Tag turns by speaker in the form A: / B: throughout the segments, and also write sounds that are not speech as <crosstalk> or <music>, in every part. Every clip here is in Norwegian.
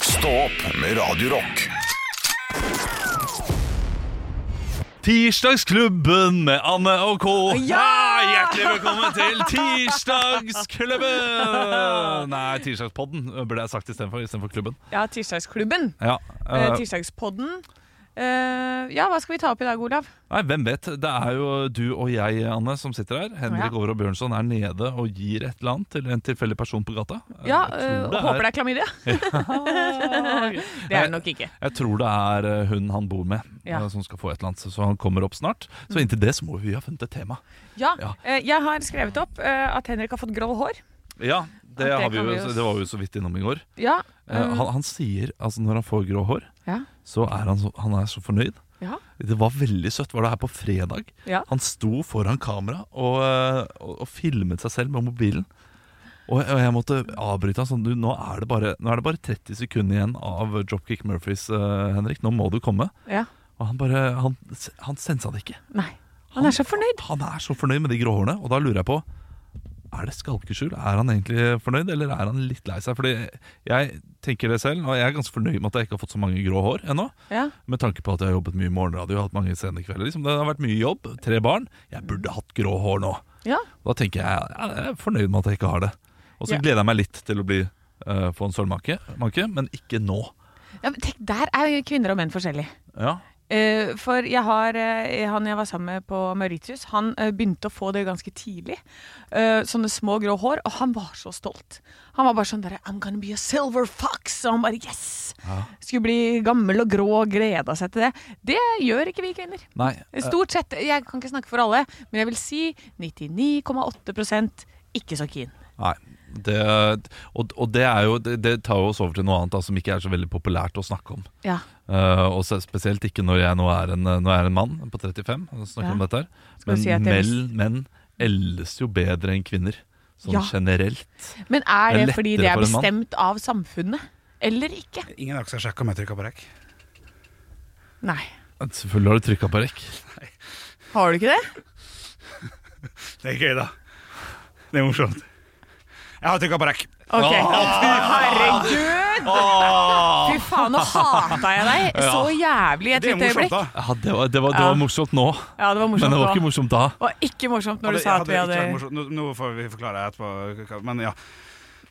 A: Stå opp med Radio Rock.
B: Tirsdagsklubben med Anne og K.
C: Ja!
B: hjertelig velkommen til Tirsdagsklubben! Nei, Tirsdagspodden burde jeg sagt istedenfor istedenfor klubben.
C: Ja, Tirsdagsklubben.
B: Ja,
C: Eh,
B: eh,
C: tirsdagspodden. Eh, ja, hva skal vi ta opp i dag, Olav?
B: nei, hvem vet? Det er jo du og jeg, Anne, som sitter her. Henrik
C: Ja.
B: Over og Bjørnson er nede og gir et eller annet til en tilfeldig person på gata. Eh,
C: Ja,
B: jeg,
C: eh,
B: tror
C: Håper
B: det
C: det
B: <laughs>
C: er klamydia.
B: er,
C: Det er det nok ikke.
B: jeg tror det er eh, hun han bor med,
C: Ja. Mm.
B: eh, som skal få et eller annet. Så han kommer opp snart. Så inntil det så må vi ha funnet et tema.
C: Ja,
B: Ja.
C: eh, Jeg har skrevet opp eh, at Henrik har fått grå hår.
B: Ja, det,
C: Ja, det
B: har vi jo,
C: kan vi jo-
B: det var vi jo så vidt innom i går.
C: Ja. mm.
B: Eh, han, han sier, altså når han får grå hår
C: Ja.
B: Så er han så, han er så fornøyd
C: ja.
B: Det var veldig søtt, var det her på fredag
C: Ja.
B: Han sto foran kamera og, eh, og, og filmet seg selv med mobilen og jeg, og jeg måtte avbryte han sånn, du, nå er, det bare, nå er det bare 30 sekunder igjen av Dropkick Murphys, eh, Henrik Nå må du komme
C: ja.
B: Og han bare, han, han sensa det ikke
C: Nei. Han er så fornøyd.
B: Han er så fornøyd med de grå hårene Og da lurer jeg på, er det skalkeskjul? Er han egentlig fornøyd, eller er han litt lei seg? Fordi jeg tenker det selv, og jeg er ganske fornøyd med at jeg ikke har fått så mange grå hår ennå
C: Ja.
B: med tanke på at jeg har jobbet mye i morgenradio og hatt mange sene kvelder. Liksom. Det har vært mye jobb, tre barn. Jeg burde hatt grå hår nå.
C: ja.
B: Da tenker jeg ja, jeg er fornøyd med at jeg ikke har det. Og så
C: Ja.
B: gleder jeg meg litt til å bli, eh, få en sølvmanke, manke, men ikke nå.
C: ja men tenk, der er jo kvinner og menn forskjellige.
B: Ja.
C: Eh, for jeg har, eh, han jeg var sammen med på Mauritius, han eh, begynte å få det ganske tidlig. Eh, sånne små grå hår, og han var så stolt. Han var bare sånn derre I'm gonna be a silver fox! Og han bare yes! Skulle bli gammel og grå og gleda seg til det. Det gjør ikke vi kvinner.
B: Nei. eh,
C: Stort sett, jeg kan ikke snakke for alle, men jeg vil si 99,8 ikke så keen.
B: nei. Det, og, og det, er jo, det, det tar jo oss over til noe annet da, som ikke er så veldig populært å snakke om.
C: Ja.
B: Eh, og se- spesielt ikke når jeg nå er en, nå er jeg en mann på 35 og snakker
C: Ja.
B: om dette her.
C: Skal
B: Men
C: du si at jeg
B: mel, menn eldes jo bedre enn kvinner, sånn
C: Ja.
B: generelt.
C: Men er det,
B: Det er
C: fordi
B: lettere
C: det er
B: for en mann.
C: bestemt av samfunnet? Eller ikke?
D: Ingen av dere skal sjekke om jeg trykker på rekk.
C: Nei.
B: Selvfølgelig har du trykka på rekk.
C: Har du ikke det?
D: Det er gøy, da. Det er morsomt. Jeg har trykka på rekk.
C: Ok. Herregud! Fy faen, nå hata jeg deg så jævlig et
D: Det er
C: lite
D: morsomt,
C: øyeblikk.
D: da.
B: Ja, det var, det var, det var
C: Ja.
B: morsomt nå,
C: Ja, det var morsomt.
B: men det var ikke
C: også.
B: morsomt da.
C: Det var ikke morsomt når
D: Hadde-
C: du sa at
D: hadde
C: vi
D: ikke
C: hadde
D: vært morsomt. Nå, nå får vi forklare etterpå, hva- men ja.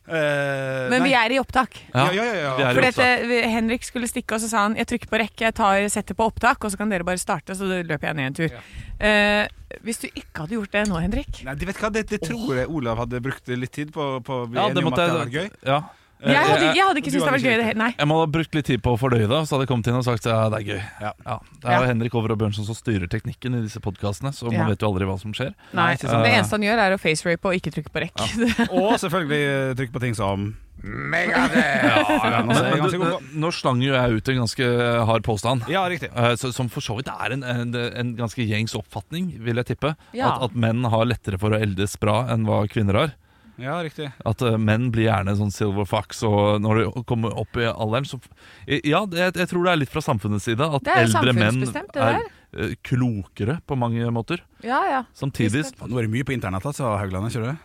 D: Eh,
C: Men vi
D: nei.
C: er i opptak.
D: Ja, ja, ja, ja.
B: Vi er i
C: For dette,
B: opptak.
C: vi- Henrik skulle stikke, og så sa han jeg trykker på rekke, jeg tar, setter på opptak, og så kan dere bare starte, så da løper jeg ned en tur. Eh, hvis du ikke hadde gjort det nå, Henrik
D: Nei, de vet hva, det, det tror jeg Olav hadde brukt litt tid på. på å bli
B: Ja,
D: enig
B: det
D: om at
B: måtte
D: det hadde vært
B: jeg
D: gøy.
B: ja.
C: Jeg hadde, jeg hadde
D: du
C: ikke syntes det
D: hadde
C: var
D: ikke
C: gøy.
D: gjort
C: Det, nei.
B: Jeg må ha brukt litt tid på å fordøye det, så hadde jeg kommet inn og sagt ja, det er gøy.
D: Ja.
B: Ja, det er jo
C: Ja.
B: Henrik Over og Bjørnson som styrer teknikken i disse podkastene, så man
C: Ja.
B: vet jo aldri hva som skjer.
C: nei.
D: ikke
B: sant.
C: Det eneste han gjør, er å facerape og ikke trykke på rekk. <laughs>
D: Og selvfølgelig eh, trykk på ting som
B: <laughs>
D: Megadeth!
B: Men,
D: Ja,
B: men,
D: ganske god på-
B: nå slang jo jeg ut en ganske hard påstand.
D: <laughs> ja, riktig.
B: Eh, så, som for så vidt er en, en, en ganske gjengs oppfatning, vil jeg tippe.
C: Ja.
B: At, at menn har lettere for å eldes bra enn hva kvinner har.
D: Ja, riktig.
B: At eh, menn blir gjerne sånn silver fox, og når du kommer opp i alderen så Ja, det, jeg, jeg tror det er litt fra samfunnets side at
C: Det er jo
B: eldre menn
C: samfunnsbestemt, det
B: er eh, klokere på mange måter.
C: Ja, ja.
B: Samtidig
C: Visst
D: Nå er det mye på internett, altså, Haugland. Ikke det?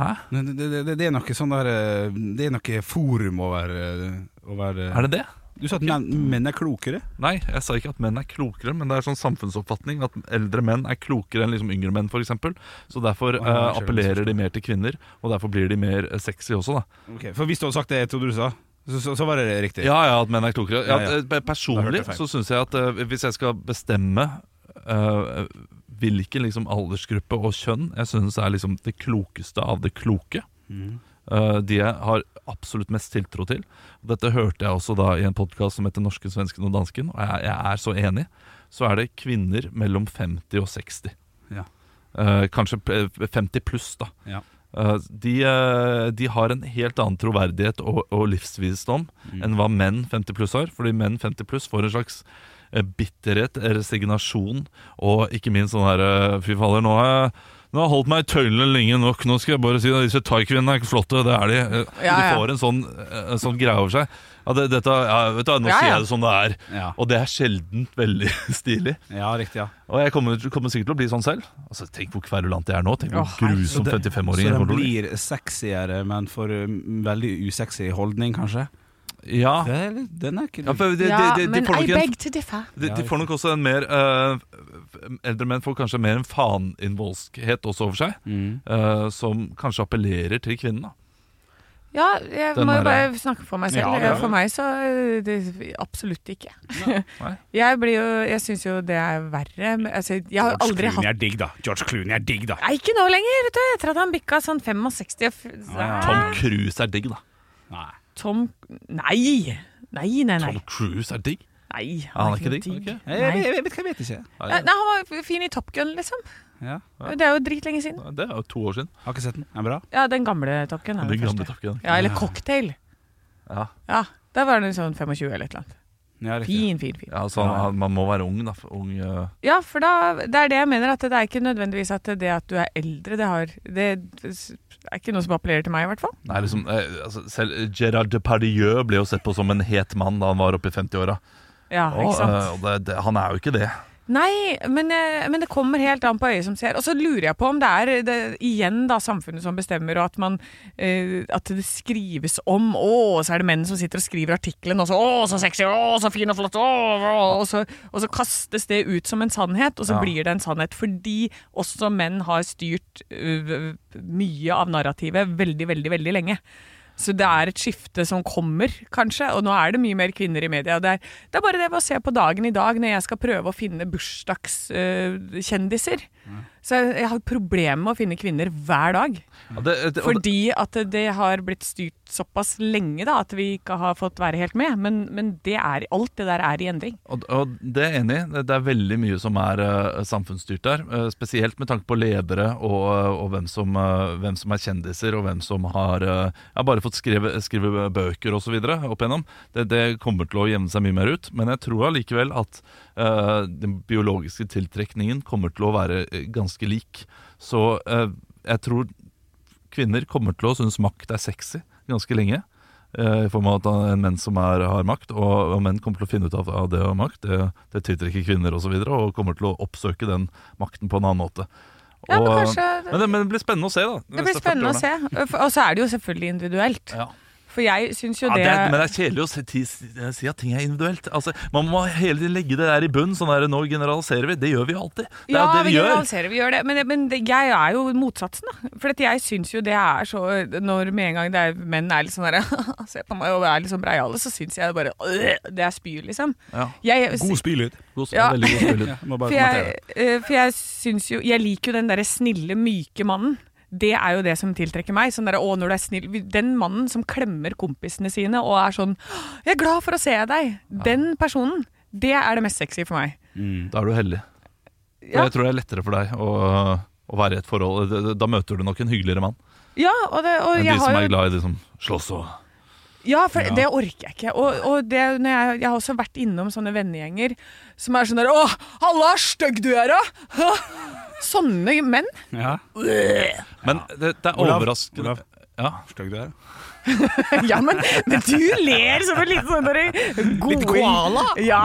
B: Hæ?
D: Men Det, det, det, det er noe sånn der eh, Det er noe forum over, eh, over eh,
B: Er det det?
D: Du sa at menn, menn er klokere?
B: Nei, jeg sa ikke at menn er klokere, men det er sånn samfunnsoppfatning at eldre menn er klokere enn liksom yngre menn, f.eks. Så derfor
D: ja,
B: eh,
D: skjønner,
B: appellerer de mer til kvinner, og derfor blir de mer eh, sexy også, da.
D: Ok, For hvis du hadde sagt det jeg trodde du sa, så, så, så var det riktig.
B: Ja, ja, at menn er klokere. Ja,
D: Ja, ja.
B: eh,
D: Da hørte
B: Personlig
D: jeg feil.
B: så syns jeg at eh, hvis jeg skal bestemme eh, hvilken liksom, aldersgruppe og kjønn jeg syns er liksom, det klokeste av det kloke
E: Mm.
B: eh, De jeg har absolutt mest tiltro til. Dette hørte jeg også da i en podkast som heter 'Norsken, svensken og dansken', og jeg, jeg er så enig. Så er det kvinner mellom 50 og 60.
D: Ja.
B: Eh, kanskje eh, 50 pluss, da.
D: Ja.
B: Eh, de, eh, de har en helt annen troverdighet og, og livsvisdom Mm.
E: Mm.
B: enn hva menn 50 pluss har. Fordi menn 50 pluss får en slags eh, bitterhet, resignasjon og ikke minst sånn herre Fy fader, nå har jeg nå har jeg holdt meg i tøylene lenge nok. Nå skal jeg bare si at disse thaikvinnene er ikke flotte. Det er de. Eh,
C: Ja, ja.
B: De får en sånn, eh, en sånn greie over seg. Ja, det, dette, ja, vet du, hva, nå
C: Ja,
B: sier
C: ja.
B: jeg det som det er.
D: Ja.
B: Og det er sjelden veldig <laughs> stilig.
D: Ja, riktig, ja.
B: Og jeg kommer, kommer sikkert til å bli sånn selv. Altså, Tenk hvor kverulant jeg er nå. Tenk hvor
C: Å, herregud.
B: grusom
D: Så
B: 55-åring jeg
D: den
B: kommer til å bli.
E: mm,
D: blir sexiere, men for um, veldig usexy holdning, kanskje?
B: Ja,
E: Det er, litt- den er ikke
B: ja for de, de,
C: ja,
B: de, de,
C: men
B: får
C: I
B: nok en,
C: beg to differ.
B: de, de får nok også en mer eh, Eldre menn får kanskje mer en faninnvoldskhet også over seg,
E: Mm.
B: eh, som kanskje appellerer til kvinnen. da
C: Ja, jeg
B: Den
C: må
B: er-
C: jo bare snakke for meg selv.
B: Ja, ja.
C: For meg så øh, det, absolutt ikke.
B: Nei.
C: <laughs> jeg blir jo Jeg syns jo det er verre. men, Altså, jeg har aldri hatt
D: Clooney er digg, da. George Clooney er digg, da.
C: Nei, ikke nå lenger, vet du. Etter at han bikka sånn 65 og f-
D: ja.
B: Tom Cruise er digg, da.
D: Nei.
C: Tom Nei! Nei, nei, nei.
B: Tom Cruise er digg
C: nei
B: Han er ikke digg? Ok.
E: Jeg, jeg,
C: Nei.
E: jeg, vet, jeg vet ikke.
C: Eh, Nei, han var fin i Top Gun, liksom.
E: Ja.
C: Det er jo dritlenge siden.
B: Nei, Det er jo to år siden.
E: Har ikke sett den. Er den bra?
C: Ja, den gamle Top Gun. Er
B: Den
C: den
B: gamle
C: første.
B: Top Gun.
C: Ja, eller Cocktail.
B: Ja.
C: Ja, Der var den sånn 25 eller et eller annet.
E: Ja, riktig.
C: Fin, fin, fin.
B: Ja, altså, han- man må være ung, da. for Ung, eh,
C: Ja, for da, det er det jeg mener. At det er ikke nødvendigvis at det at du er eldre, det, har, det er ikke noe som appellerer til meg, i hvert fall.
B: nei, liksom, eh, altså, selv Gerard Depardieu ble jo sett på som en het mann da han var oppe i 50-åra.
C: Ja,
B: Og,
C: ikke sant?
B: eh, og det- det- Han er jo ikke det.
C: Nei, men, eh, men det kommer helt an på øyet som ser. Og så lurer jeg på om det er det, igjen da samfunnet som bestemmer, og at, man, eh, at det skrives om Å, så er det menn som sitter og skriver artikkelen, og så Å, så sexy, å, så fin og flott, å, å, og, så, og så kastes det ut som en sannhet, og så
B: Ja.
C: blir det en sannhet fordi også menn har styrt eh, mye av narrativet veldig, veldig, veldig lenge. Så det er et skifte som kommer, kanskje. Og nå er det mye mer kvinner i media. Det er, det er bare det med å se på dagen i dag når jeg skal prøve å finne bursdagskjendiser. så jeg, jeg har problemer med å finne kvinner hver dag.
B: Ja, det, det, og det
C: Fordi at det har blitt styrt såpass lenge da, at vi ikke har fått være helt med. Men, men det er, alt det der er i endring.
B: og, og det er jeg enig i. Det- Det er veldig mye som er eh, samfunnsstyrt der. eh, spesielt med tanke på ledere og, eh, og hvem, som, eh, hvem som er kjendiser, og hvem som har eh, ja, bare fått skrive, skrive bøker osv. opp igjennom. Det, det kommer til å jevne seg mye mer ut. Men jeg tror allikevel at eh, den biologiske tiltrekningen kommer til å være eh, ganske lik. Så eh, jeg tror kvinner kommer til å synes makt er sexy ganske lenge. eh, I form av at en menn som er, har makt, og, og menn kommer til å finne ut av, av det å ha makt. Det, det tiltrekker kvinner osv., og, så videre, og kommer til å oppsøke den makten på en annen måte.
C: Ja, men
B: Og, eh,
C: kanskje-
B: men, det, men det blir spennende å se, da. de
C: Det blir
B: neste 40
C: spennende å
B: årene.
C: se. Og så er det jo selvfølgelig individuelt.
B: Ja.
C: For jeg syns jo
B: Ja,
C: det,
B: det er, men det er kjedelig å si, ti- si at ting er individuelt. Altså, man må hele tiden legge det der i bunn. Sånn der, nå generaliserer vi. Det gjør vi alltid. Det er
C: ja,
B: jo det vi gjør.
C: generaliserer, vi gjør det. Men, men det, jeg er jo motsatsen, da. For at jeg syns jo det er så Når med en gang det er, menn er litt sånn der <laughs> Se på meg og er litt sånn breiale, så syns jeg bare øh, Det er spy, liksom.
B: Ja.
C: Jeg,
E: God spylyd.
B: God,
C: Ja.
B: Veldig god
E: <laughs>
B: spiller.
E: Jeg må bare
C: for
E: kommentere
C: jeg,
E: det.
C: eh, for jeg syns jo Jeg liker jo den derre snille, myke mannen. Det er jo det som tiltrekker meg. Sånn der, å, når du er snill. Den mannen som klemmer kompisene sine og er sånn 'Jeg er glad for å se deg'. Den personen. Det er det mest sexy for meg.
E: Mm.
B: Da er du heldig. For
C: Ja.
B: Jeg tror det er lettere for deg å, å være i et forhold. Da- Da møter du nok en hyggeligere mann
C: Ja, og det, og
B: enn
C: jeg
B: de som
C: har
B: er
C: jo
B: glad i de som slåss og
C: Ja, for det orker jeg ikke. Og, og det, når jeg, jeg har også vært innom sånne vennegjenger som er sånn der Å, halla, stygg du er, da! <laughs> Hæ?» Sånne menn. <laughs>
E: Ja.
B: Men det, det er
E: Olav,
B: overraskende
E: Olav.
B: Ja.
E: Stygg du er.
C: Ja, men, men du ler som en liten sånn derre Litt koala? Ja.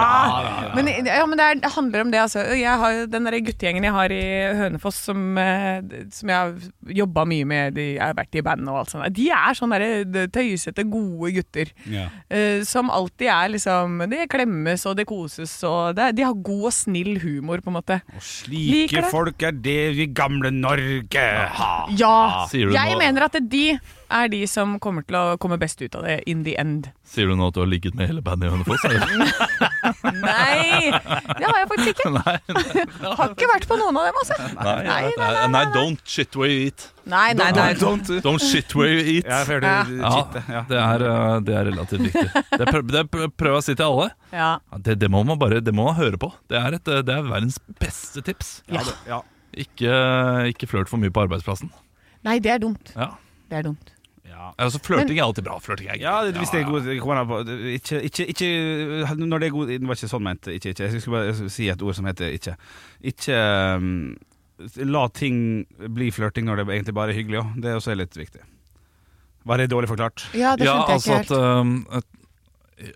C: Men, ja, men det, er, det handler om det, altså. Jeg har jo den derre guttegjengen jeg har i Hønefoss som, eh, som jeg har jobba mye med, de, jeg har vært i band og alt sånt, de er sånne derre tøysete, gode gutter.
E: Ja.
C: Eh, som alltid er liksom Det klemmes og det koses og det, De har god og snill humor, på en måte.
E: Og
C: Liker
E: slike
C: det.
E: folk er det vi gamle Norge har.
C: Ja!
B: Ah, sier du
C: Jeg
B: nå-
C: mener at de er de som kommer til å komme best ut av det in the end.
B: Sier du nå at du har ligget med hele bandet i Hønefoss?
C: <laughs>
B: eller?
C: Nei! Det har jeg faktisk
B: <laughs>
C: ikke.
B: nei, nei,
C: Har ikke vært på noen av dem, altså.
B: nei,
C: Nei, nei,
B: nei,
C: nei,
B: nei, don't shit where you eat.
C: Nei, nei, nei.
E: Don't do-
B: Don't shit where you eat.
E: <laughs> Ja, jeg hørte
C: Ja.
E: det.
B: Ja,
E: Shit, ja.
B: det er, eh, det er relativt viktig. Det, prø det prø prøver jeg å si til alle.
C: Ja.
B: Ja, det, det må man bare det må man høre på. Det er, et, eh, det er verdens beste tips.
E: Ja, det- ja.
B: Ikke, ikke flørt for mye på arbeidsplassen.
C: Nei, det er dumt.
B: Ja.
C: Det er dumt.
E: Ja.
B: Altså, flørting er alltid bra. Flørting er gøy.
E: Ja, det- hvis det er god det kommer an på- det- Ikke, ikke, ikke Når det er god Det var ikke sånn ment. Ikke, ikke. Jeg skulle bare si et ord som heter ikke. Ikke um, la ting bli flørting når det egentlig bare er hyggelig òg. Det er også litt viktig. Var det dårlig forklart?
C: Ja, det
B: Ja,
C: skjønte jeg
B: altså
C: ikke
B: at,
C: helt.
B: um, at,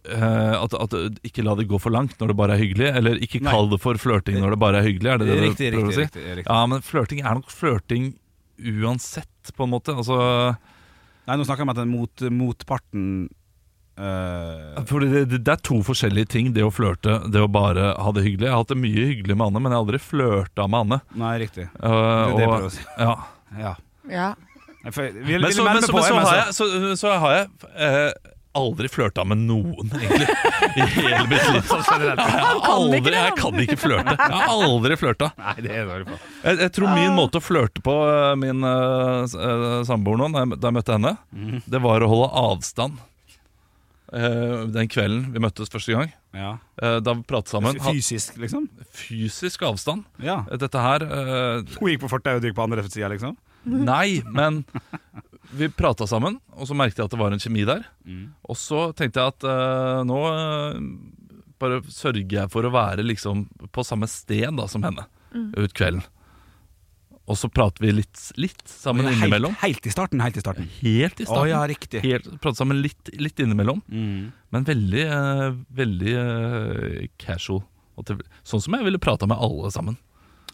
B: eh, at, at Ikke la det gå for langt når det bare er hyggelig, eller ikke
E: Nei.
B: kall det for flørting når det bare er hyggelig. Er det det du
E: Riktig,
B: prøver
E: riktig.
B: å si?
E: riktig, riktig.
B: Ja, men flørting er nok flørting uansett, på en måte. Altså,
E: Nei, nå snakker jeg om at den mot, motparten Eh,
B: Fordi det, det, det er to forskjellige ting, det å flørte, det å bare ha det hyggelig. Jeg har hatt det mye hyggelig med Anne, men jeg har aldri flørta med Anne.
E: nei, riktig.
B: Eh,
E: Det er det jeg
B: og-
E: prøver å si.
B: ja.
E: Ja.
C: Ja.
E: Nei, for jeg- Vil,
B: Men
E: vil
B: så,
E: melde
B: men,
E: meg
B: så,
E: på,
B: men så har
E: jeg, men
B: jeg, så, så har jeg eh, aldri flørta med noen, egentlig. I hele mitt liv. Jeg har
C: kan ikke
B: aldri,
C: det, han.
B: jeg kan ikke flørte. Jeg har aldri flørta.
E: så- Nei, det er dårlig på.
B: Jeg, jeg tror
C: Ah.
B: min måte å flørte på, eh, min eh, s- eh, samboer nå, da jeg, da jeg møtte henne, det var å holde avstand. Eh, den kvelden vi møttes første gang,
E: Ja.
B: eh, da vi pratet sammen. Ha,
E: Fysisk, liksom?
B: fysisk avstand.
E: Ja.
B: Dette her eh,
E: Hun gikk på fortauet, du gikk på andre sida, liksom?
B: Nei, men vi prata sammen, og så merket jeg at det var en kjemi der.
E: Mm.
B: Og så tenkte jeg at eh, nå eh, bare sørger jeg for å være liksom på samme sted da som henne ut kvelden. Og så prater vi litt, litt sammen
E: helt,
B: innimellom.
E: helt i starten, helt i starten.
B: Helt i
E: Å
B: starten.
E: ja, riktig.
B: Helt, prater sammen litt, litt innimellom,
E: Mm.
B: men veldig, eh, veldig eh, casual. Og til, sånn som jeg ville prata med alle sammen.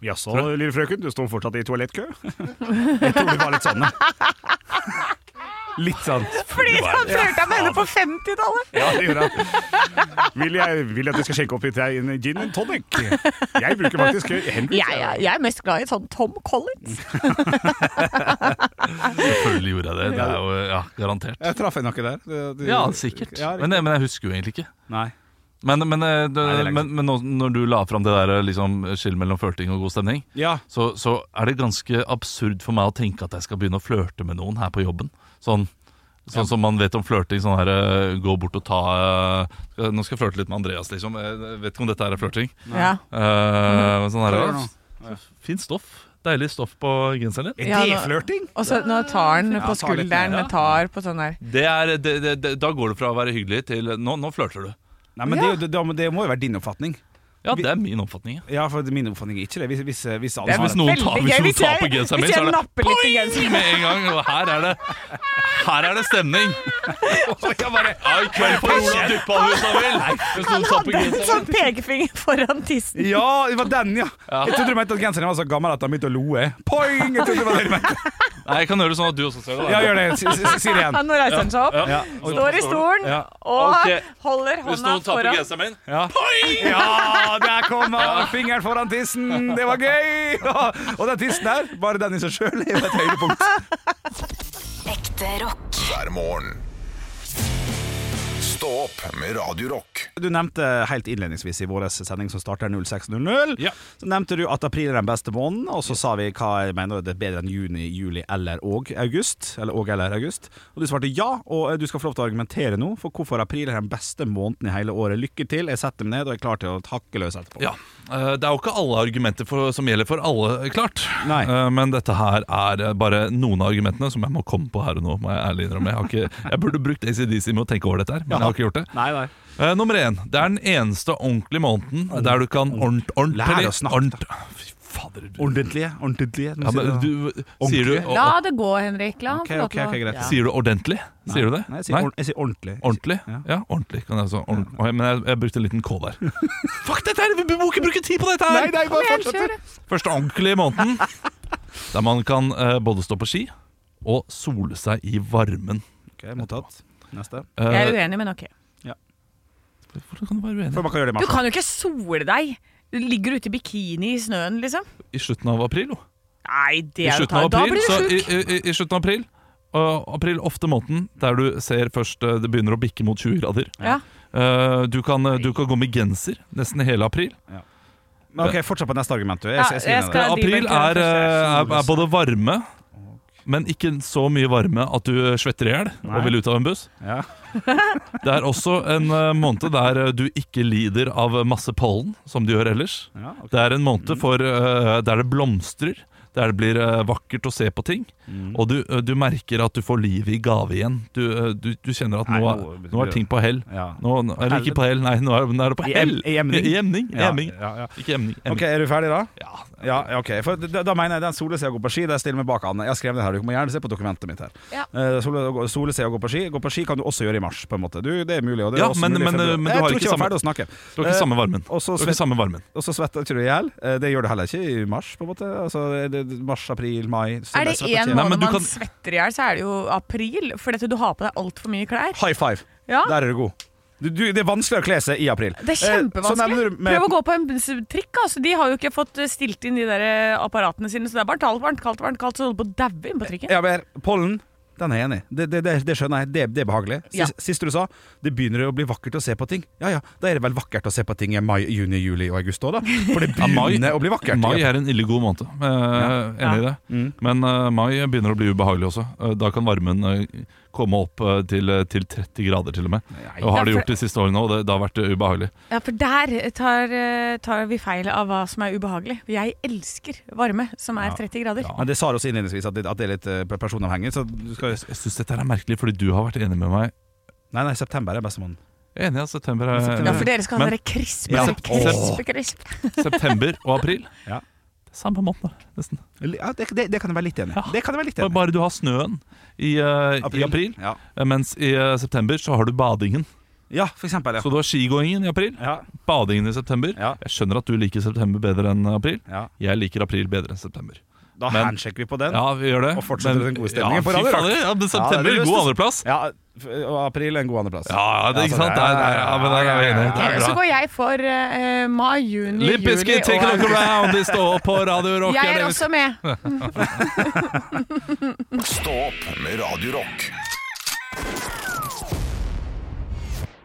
E: Jaså.
D: Så, lille frøken, du står fortsatt i toalettkø? <laughs> Jeg tror det var litt sånn, ja.
E: <laughs> Litt sånn
C: Fordi han flørta med henne på 50-tallet!
D: ja det gjorde jeg. Vil jeg vil jeg at du skal sjekke opp i deg en gin and tonic? Jeg bruker faktisk Henrik.
C: Jeg, jeg, jeg er mest glad i sånn Tom Collins.
B: Selvfølgelig gjorde jeg det. Det er jo ja, garantert.
E: Jeg traff en nakke der. Det- det-
B: Ja, sikkert.
E: Ja, riktig.
B: men, men jeg husker jo egentlig ikke.
E: Nei.
B: Men, men, eh, det,
E: Nei, det er lenge
B: men, men nå- når du la fram det der liksom, skill mellom flørting og god stemning,
E: Ja.
B: så, så er det ganske absurd for meg å tenke at jeg skal begynne å flørte med noen her på jobben. Sånn, sånn som man vet om flørting. Sånn her eh, gå bort og ta eh, skal- Nå skal jeg flørte litt med Andreas, liksom. Jeg vet ikke om dette her er flørting.
C: Ja.
B: Eh, sånn her,
E: Hva gjør du nå?
B: eh, Fint stoff. Deilig stoff på genseren din.
E: Er
C: Ja,
E: det
C: nå-
E: flørting?
C: Og så nå tar han på
E: tar litt
C: skulderen,
E: ned, ja.
C: tar på sånn der
B: Det er, det, det, det, da går det fra å være hyggelig til Nå, nå flørter du.
E: Nei, men det, er jo- det, det må jo være din oppfatning.
B: Ja, det er min oppfatning. Ja.
E: Ja, for min oppfatning er ikke det. Hvis, hvis, hvis alle
C: Det er
E: har
B: Hvis noen tar,
C: veldig
B: hvis
C: gøy.
B: noen
C: Hvis
B: tar på
C: jeg-
B: genseren
C: hvis
B: min, så
C: jeg
B: er det
C: napper litt i
B: poing
C: genseren.
B: med en gang. Og her er det Her er det stemning. Ja, I kveld får Ola duppa han hvis han vil. Hvis noen
C: Han
B: tar på
C: hadde en
B: genseren.
C: sånn pekefinger foran tissen.
E: Ja, det var den, ja! Jeg trodde du mente at genseren var så gammel at han begynte å loe. Poeng! Jeg trodde det var det du mente.
B: Nei, jeg kan gjøre det sånn at du også ser det. da.
E: Ja, gjør det. Si, si, si det igjen.
C: <laughs> Han nå reiser han seg opp,
E: Ja.
C: står i stolen
E: Ja.
C: og
B: Ok.
C: holder
B: Hvis
C: hånda
B: noen tar på
C: foran.
B: genseren min
E: Ja. ja, der kom han! Fingeren foran tissen! Det var gøy! <laughs> Og den tissen der, bare den i seg sjøl, er jo et høydepunkt.
F: Ekte rock.
A: hver morgen. Stå opp med Radio Rock.
E: Du nevnte helt innledningsvis i vår sending som starter 06.00,
B: Ja.
E: så nevnte du at april er den beste måneden, og så sa vi hva jeg mener det er bedre enn juni, juli eller og august. Eller og eller august. Og du svarte ja, og eh, du skal få lov til å argumentere nå for hvorfor april er den beste måneden i hele året. Lykke til, jeg setter meg ned og er klar til å takke løs etterpå.
B: Ja, eh, Det er jo ikke alle argumenter for, som gjelder for alle, klart.
E: Nei.
B: Eh, Men dette her er eh, bare noen av argumentene som jeg må komme på her og nå. må Jeg ærlig innrømme. Jeg, har ikke, jeg burde brukt ACDC med å tenke over dette, her, men jeg har ikke gjort det.
E: Nei, nei.
B: Eh, nummer én. Det er den eneste ordentlige måneden der du kan ordent, ordentlig
E: Lær å snakke,
B: ordent- Fy fader. du-
E: Ordentlige, ordentlige.
B: Ja, men du, sier, du,
E: Ordentlig?
B: å-
C: La
B: å-
C: det gå, Henrik. La han
E: Ok,
C: få lov
E: ok,
C: til å-
E: ok, greit.
C: Ja.
B: sier du ordentlig? Sier du det?
E: Nei, jeg sier, ord- jeg sier ordentlig.
B: Ordentlig?
E: Ja.
B: Ja, ordentlig. Kan jeg altså, ordent- Oi, men jeg, jeg brukte en liten K
E: <laughs>
B: der. Fuck dette her! Vi må ikke bruke tid på dette her!
E: nei, bare
C: Men kjør det.
B: Første ordentlige
E: <laughs>
B: måneden der man kan eh, både stå på ski og sole seg i varmen.
E: Ok, mottatt. Neste.
B: Eh,
C: Jeg er uenig, men ok.
B: Hvordan kan du være uenig?
E: For man kan gjøre det i
C: Du
E: mars.
C: kan jo ikke sole deg. Du ligger ute i bikini i snøen, liksom.
B: I slutten av april, jo.
C: Nei, det
B: I
C: er jo
B: slutten av
C: tar- Da
B: april,
C: blir
B: så,
C: du
B: i,
C: sjuk.
B: i, i slutten av april, og april ofte måneden der du ser først eh, det begynner å bikke mot 20 grader.
C: Ja.
B: Eh, du, kan, eh, du kan gå med genser nesten hele april.
E: Men ok, Fortsett på neste argument. Du. Jeg,
C: Ja,
E: jeg, sier
C: jeg
E: det.
C: skal- Ja, de
B: april
C: benker
B: er,
C: den
B: eh, er,
E: første.
B: er både varme, men ikke så mye varme at du eh, svetter i hjel og
E: Nei.
B: vil ut av en buss.
E: Ja.
B: Det er også en eh, måned der eh, du ikke lider av masse pollen, som du gjør ellers.
E: Ja, ok.
B: Det er en
E: Mm.
B: måned for, eh, der det blomstrer, der det blir eh, vakkert å se på ting.
E: Mm.
B: Og du, eh, du merker at du får livet i gave igjen. Du, eh, du, du kjenner at
E: Nei,
B: nå,
E: nå
B: er-
E: begynner
B: nå er
E: du-
B: ting på hell.
E: Ja.
B: Nå, nå- eller ikke på hell, nei, nå er, nå er det på
E: I
B: hell.
E: em- i
B: <laughs>
E: emning.
B: I emning. i
E: Ja,
B: emning.
E: ja, ja.
B: Ikke emning. emning.
E: Ok, Er du ferdig, da?
B: Ja.
E: Ja, ok For da, da mener jeg den sole seg og gå på ski Det stiller meg bak Anne Jeg skrev det her Du må gjerne se på dokumentet mitt her
C: Ja.
E: Eh, sole, sole seg og gå på ski Gå på ski kan du også gjøre i mars På en måte du, Det er mulig og det er
B: Ja,
E: også
B: men-
E: mulig i
B: men,
E: februar.
B: eh, men du
E: Jeg
B: har
E: tror
B: ikke
E: ikke jeg var
B: samme-
E: ferdig å snakke
B: Du har ikke
E: Eh,
B: samme varmen.
E: og så
B: Du har ikke
E: svett-
B: samme varmen.
E: Og så svetter ikke du ihjel Eh, Det gjør du heller ikke i mars på en måte altså, det, eh, mars, april, mai.
C: Er det
E: Svette-
C: én
E: svetter-
B: Nei,
C: måned
B: men du
C: man
B: kan-
C: svetter i hjel, så er det jo april. Fordi at du har på deg altfor mye klær.
E: High five!
C: Ja,
E: Der er du god. Du, du, det er vanskelig å kle seg i april.
C: Det er
E: Eh, så nevner
C: kjempevanskelig.
E: du med-
C: Prøv å gå på en s- trikk. Altså. De har jo ikke fått eh, stilt inn de der eh, apparatene sine, så det er bare kaldt, varmt, kaldt, varmt, kaldt, så du holder på å daue inn på trikken.
E: Ja, men pollen, den er jeg enig i. Det, det, det, det skjønner jeg. Det, det er behagelig. Sist,
C: Ja.
E: sist du sa det begynner å bli vakkert å se på ting. Ja ja, da er det vel vakkert å se på ting i mai, juni, juli og august òg, da. For det
B: <laughs> Ja, mai-
E: begynner å bli vakkert.
B: Mai
E: Ja.
B: er en ille god måned. Eh, Enig i det.
E: Mm.
B: Men eh, mai begynner å bli ubehagelig også. Eh, da kan varmen eh, komme opp eh, til, eh, til 30 grader, til og med.
E: Nei.
B: Og har det
C: Ja, for-
B: gjort de siste årene òg. Det, det har vært eh, ubehagelig.
C: Ja, for der tar, eh, tar vi feil av hva som er ubehagelig. Jeg elsker varme som er 30 grader.
E: Men det sa du også innledningsvis, at det, at det er litt eh, personavhengig. Så du skal
B: Jeg syns dette her er merkelig, fordi du har vært enig med meg.
E: Nei, nei, september er beste måneden.
B: Jeg er Enig i at september er
E: September.
C: Ja, for dere skal ha
B: Men-
C: dere krispe,
B: Ja.
C: krispe, krispe.
B: <laughs> September og april.
E: Ja.
B: Det er Samme måned, nesten.
E: Ja, det, det, det kan jeg være litt enig i.
B: Ja.
E: Det kan jeg være litt
B: Bare-
E: enig
B: Bare du har snøen i eh, i april,
E: Ja.
B: eh, mens i eh, september så har du badingen.
E: ja, for eksempel. Ja.
B: Så du har skigåingen i april,
E: ja.
B: badingen i september.
E: Ja.
B: Jeg skjønner at du liker september bedre enn april.
E: ja.
B: Jeg liker april bedre enn september.
E: Da
B: Men-
E: handshaker vi på den.
B: Ja, vi gjør det.
E: Og fortsetter
B: Men-
E: den gode stemningen på
B: fy
E: Radio Rock.
B: fader, Ja, men
E: Ja, det
B: september,
E: er det
B: god
E: beste-
B: andreplass.
E: Ja, f- og april er en god andreplass.
B: Ja, det, ikke sant? Der, der, ja, men der er vi enige. Det
C: Ok,
B: er
C: så
B: bra.
C: går jeg for eh, mai, juni,
B: Limp
C: juli
B: Bizkit, take a look around, de står på Radio Rock.
C: Jeg er
B: eller-
C: også med.
A: Stå opp med Radio Rock.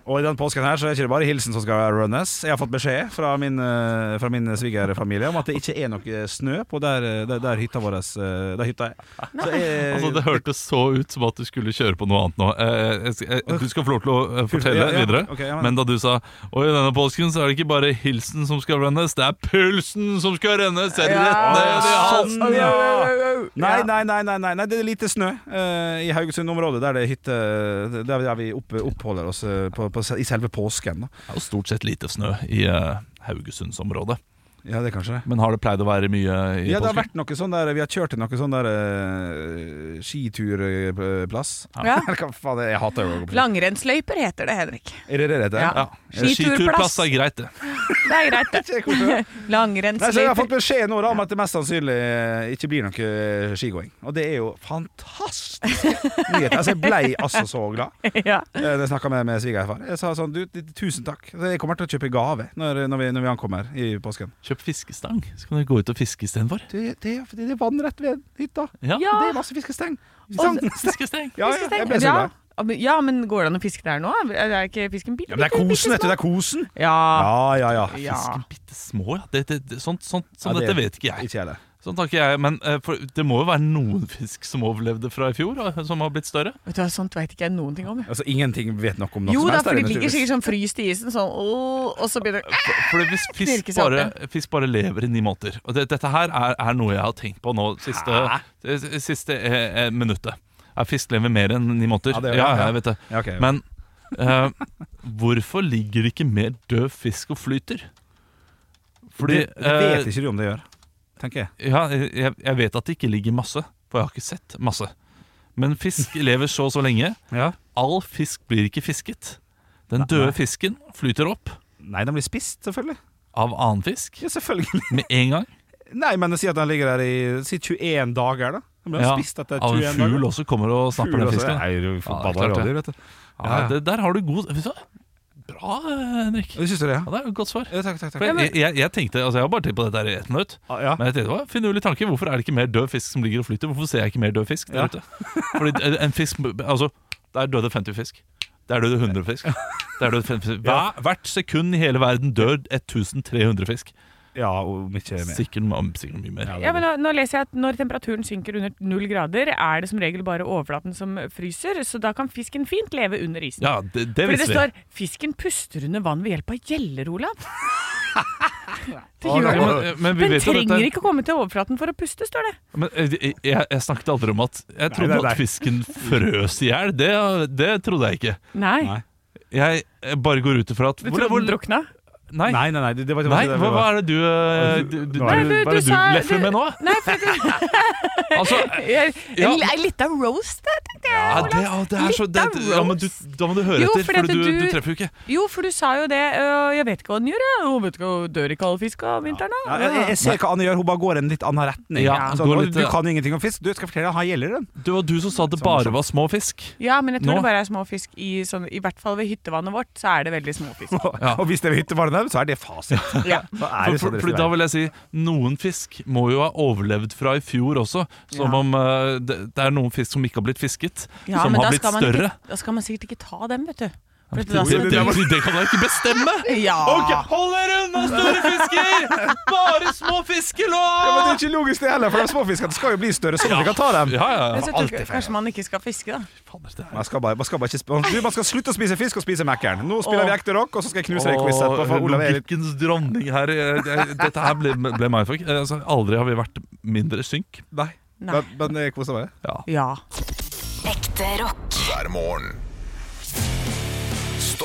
E: Og i den påsken her så er det ikke bare hilsen som skal runnes. Jeg har fått beskjed fra min, eh, fra min svigerfamilie om at det ikke er noe snø på der, eh, der, der hytta vår eh, Der hytta er. Så eh, jeg,
B: Altså, det hørtes så ut som at du skulle kjøre på noe annet nå. Eh, jeg skal- eh, du skal få lov til å eh, fortelle
E: Ja, ja,
B: videre.
E: ok, ja,
B: men.
E: men-
B: da du sa Oi, denne påsken så er det ikke bare hilsen som skal rennes, det er pulsen som skal rennes! Er det rett ned i halsen?
E: sånn, ja. Nei,
C: Ja.
E: nei, nei, nei, nei, nei, det er lite snø eh, i Haugesund-området, der det er hytte Der, der vi opp, oppholder oss eh, på, på, i selve påsken. Da.
B: Det er jo stort sett lite snø i eh, Haugesundsområdet.
E: Ja, det er kanskje det.
B: Men har det pleid å være mye i
E: Ja, det har
B: påsken?
E: vært noe sånn der Vi har kjørt til noe sånn der eh, skiturplass.
C: Ja.
E: Eller <laughs> hva faen, jeg hater jo å gå på ski.
C: Langrennsløyper heter det, Henrik.
E: Er det det det heter?
C: Ja.
B: Eh, Skiturplass
C: Skiturplass.
B: er greit, det.
C: Det er greit, det.
E: Ikke hvorfor. Nei, så jeg har
C: Langrennsløyper.
E: fått beskjed nå da, om at det mest sannsynlig eh, ikke blir noe eh, skigåing. Og det er jo fantastiske nyheter. Altså, jeg blei altså så glad
C: <laughs> Ja.
E: eh, når jeg snakka med, med svigerfar. Jeg sa sånn du, d- tusen takk. Så Jeg kommer til å kjøpe gave når, når, vi, når vi ankommer i påsken.
B: Kjøp fiskestang, så kan dere gå ut og fiske istedenfor.
E: Du, det, er- det er vann rett ved hytta.
B: Ja.
C: Ja.
E: Det er masse fiskesteng. Stang.
B: Fiskestang.
E: Ja, ja, jeg ble så
C: Ja.
E: glad.
C: Ja, men- Ja, men går det an å fiske der nå? Er det ikke fisken bitte
E: Ja, men det er kosen, vet du. Det er kosen.
C: Ja.
E: Ja, ja, ja.
C: Ja.
B: Fisken bitte små, ja. Det, det, det, sånt sånt som
E: Ja, det-
B: dette vet ikke jeg.
E: Ikke jeg heller.
B: Sånn takker jeg, men eh, for, Det må jo være noen fisk som overlevde fra i fjor, og som har blitt større.
C: Vet du hva, Sånt vet ikke jeg noen ting om. jeg.
E: Altså, ingenting vet nok om noe
C: Jo
E: som
C: da,
E: helst.
C: for
E: der
C: de
E: inne,
C: ligger
E: tydeligvis.
C: sikkert sånn fryst i isen, sånn åh, og så begynner det
B: For, for hvis fisk
C: Knirker seg opp
B: bare, fisk bare lever i ni måneder Og det, dette her er, er noe jeg har tenkt på nå siste, det siste eh, eh, minuttet. Er fisk lever mer enn ni måneder?
E: Ja, det gjør
B: ja,
E: det, ja.
B: jeg vet det.
E: Ja, ok, ja.
B: Men eh, hvorfor ligger det ikke mer død fisk og flyter? Fordi
E: det, det vet
B: eh,
E: ikke du om det gjør, tenker jeg.
B: ja, jeg, jeg vet at det ikke ligger masse, for jeg har ikke sett masse. Men fisk lever så og så lenge.
E: Ja.
B: All fisk blir ikke fisket. Den døde fisken flyter opp
E: Nei, den blir spist, selvfølgelig.
B: av annen fisk
E: Ja, selvfølgelig.
B: med en <laughs> gang.
E: Nei, men si at den ligger der i si 21 dager, da. Den ble
B: Ja,
E: spist etter
B: av
E: 21
B: en
E: dager.
B: fugl også kommer og snapper den fisken.
E: Nei, du
B: Ja,
E: forbanna
B: det er klart det.
E: rådyr, vet du.
B: Ja, det, der har du god Vet du hva? Bra, eh, Henrik.
E: Syns du det,
B: Ja, det er et godt svar.
E: ja? Takk, takk.
B: For jeg, jeg, jeg tenkte, altså jeg har bare tenkt på dette her i ett minutt,
E: Ja.
B: men jeg tenkte, det var en finurlig tanke. Hvorfor er det ikke mer død fisk som ligger og flyter? Hvorfor ser jeg ikke mer død fisk der
E: Ja.
B: ute? Fordi en fisk, altså, Der døde 50 fisk. Der døde 100 fisk. Der døde 50 fisk. Hver, hvert sekund i hele verden dør 1300 fisk.
E: ja, om ikke mer.
B: Sikkert, sikkert mye mer.
C: ja, men nå, nå leser jeg at når temperaturen synker under null grader, er det som regel bare overflaten som fryser, så da kan fisken fint leve under isen.
B: Ja, det, det
C: Fordi det
B: visste vi.
C: står 'fisken puster under vann ved hjelp av gjeller',
E: <laughs>
C: Olav. Det
E: Å,
C: gjør
E: nei,
C: den.
B: Ja, men, men vi
C: Den
B: vet jo
C: trenger
B: dette.
C: ikke å komme til overflaten for å puste, står det.
B: Men jeg, jeg, jeg snakket aldri om at Jeg trodde
E: nei, nei.
B: at fisken frøs i hjel. Det, det trodde jeg ikke.
C: Nei.
E: Nei.
B: Jeg eh, bare går ut ifra at
C: Du trodde den drukna?
B: Nei,
E: Nei, nei, nei, det, det var ikke
B: Nei,
E: det var-
B: hva, hva er det du, eh, du, du,
E: Nei,
B: du,
C: du-
B: hva er det
C: du
B: du
C: sa-
B: leffer
C: du-
B: med nå?
C: Nei, for det,
B: Altså,
C: jeg,
B: Ja.
C: en, en liten roast, der, tenkte jeg.
B: ja, det,
C: Olav.
B: ja, det er så det,
C: Litt av
B: ja, men du, Da må du høre
C: Jo,
B: etter, for
C: fordi at
B: du, du
C: du-
B: treffer jo ikke.
C: Jo, for du sa jo det. øh, Jeg vet ikke hva den gjør. jeg. Hun vet ikke, hun dør ikke alle fisk om vinteren. da.
E: Ja, jeg, jeg ser hva Anne gjør, hun bare går en litt annen retning.
B: Ja,
E: sånn,
B: går
E: «Å,
B: litt-
E: du kan ingenting om fisk, du skal jeg fortelle deg, her gjelder den.
B: Det var du som sa at det bare var små fisk.
C: Ja, men jeg tror
B: Nå?
C: det bare er små fisk i sånn I hvert fall ved hyttevannet vårt, så er det veldig små
B: <laughs>
C: fisk.
E: <laughs> Og hvis det er hyttevarene, så er det fasit.
C: Ja.
E: Så
B: For,
E: er det sånn
B: for,
E: det
B: fordi
E: skal
B: da
E: være.
B: vil jeg si noen fisk må jo ha overlevd fra i fjor også. Som
C: Ja.
B: om eh, det, det er noen fisk som ikke har blitt fisket,
C: Ja,
B: som
C: men da
B: har blitt
C: skal, man
B: større.
C: ikke, da skal man sikkert ikke ta dem, vet du. For at
B: Det,
C: da
B: det,
C: skal
B: det,
C: du-
B: kan jeg ikke bestemme! Ah.
C: ja.
B: Ok, Hold dere unna, store fisker! Bare små
E: ja, men det
B: fiskelår!
E: er ikke logisk det heller, for de små fiskene skal jo bli større, sånn at vi kan ta dem.
B: Ja, ja,
C: Men
B: ja.
C: så
E: alltid
C: tror jeg,
E: feil.
C: kanskje man ikke skal fiske, da.
B: Fader, det er
E: Man skal, bare, man, skal bare ikke sp- du, man skal slutte å spise fisk og spise Mækkern. Nå spiller
C: Åh.
E: vi ekte rock, og så skal jeg knuse deg i quiz etterpå.
B: Åh,
E: For Olav er litt
B: Logikkens dronning her. eh, det- Dette her ble, ble meg fuck. Eh, Altså, aldri har vi vært mindre synk.
E: Nei.
C: Nei.
E: Men, men jeg koser meg.
B: Ja.
C: Ja.
F: Ekte rock.
A: hver morgen. Stå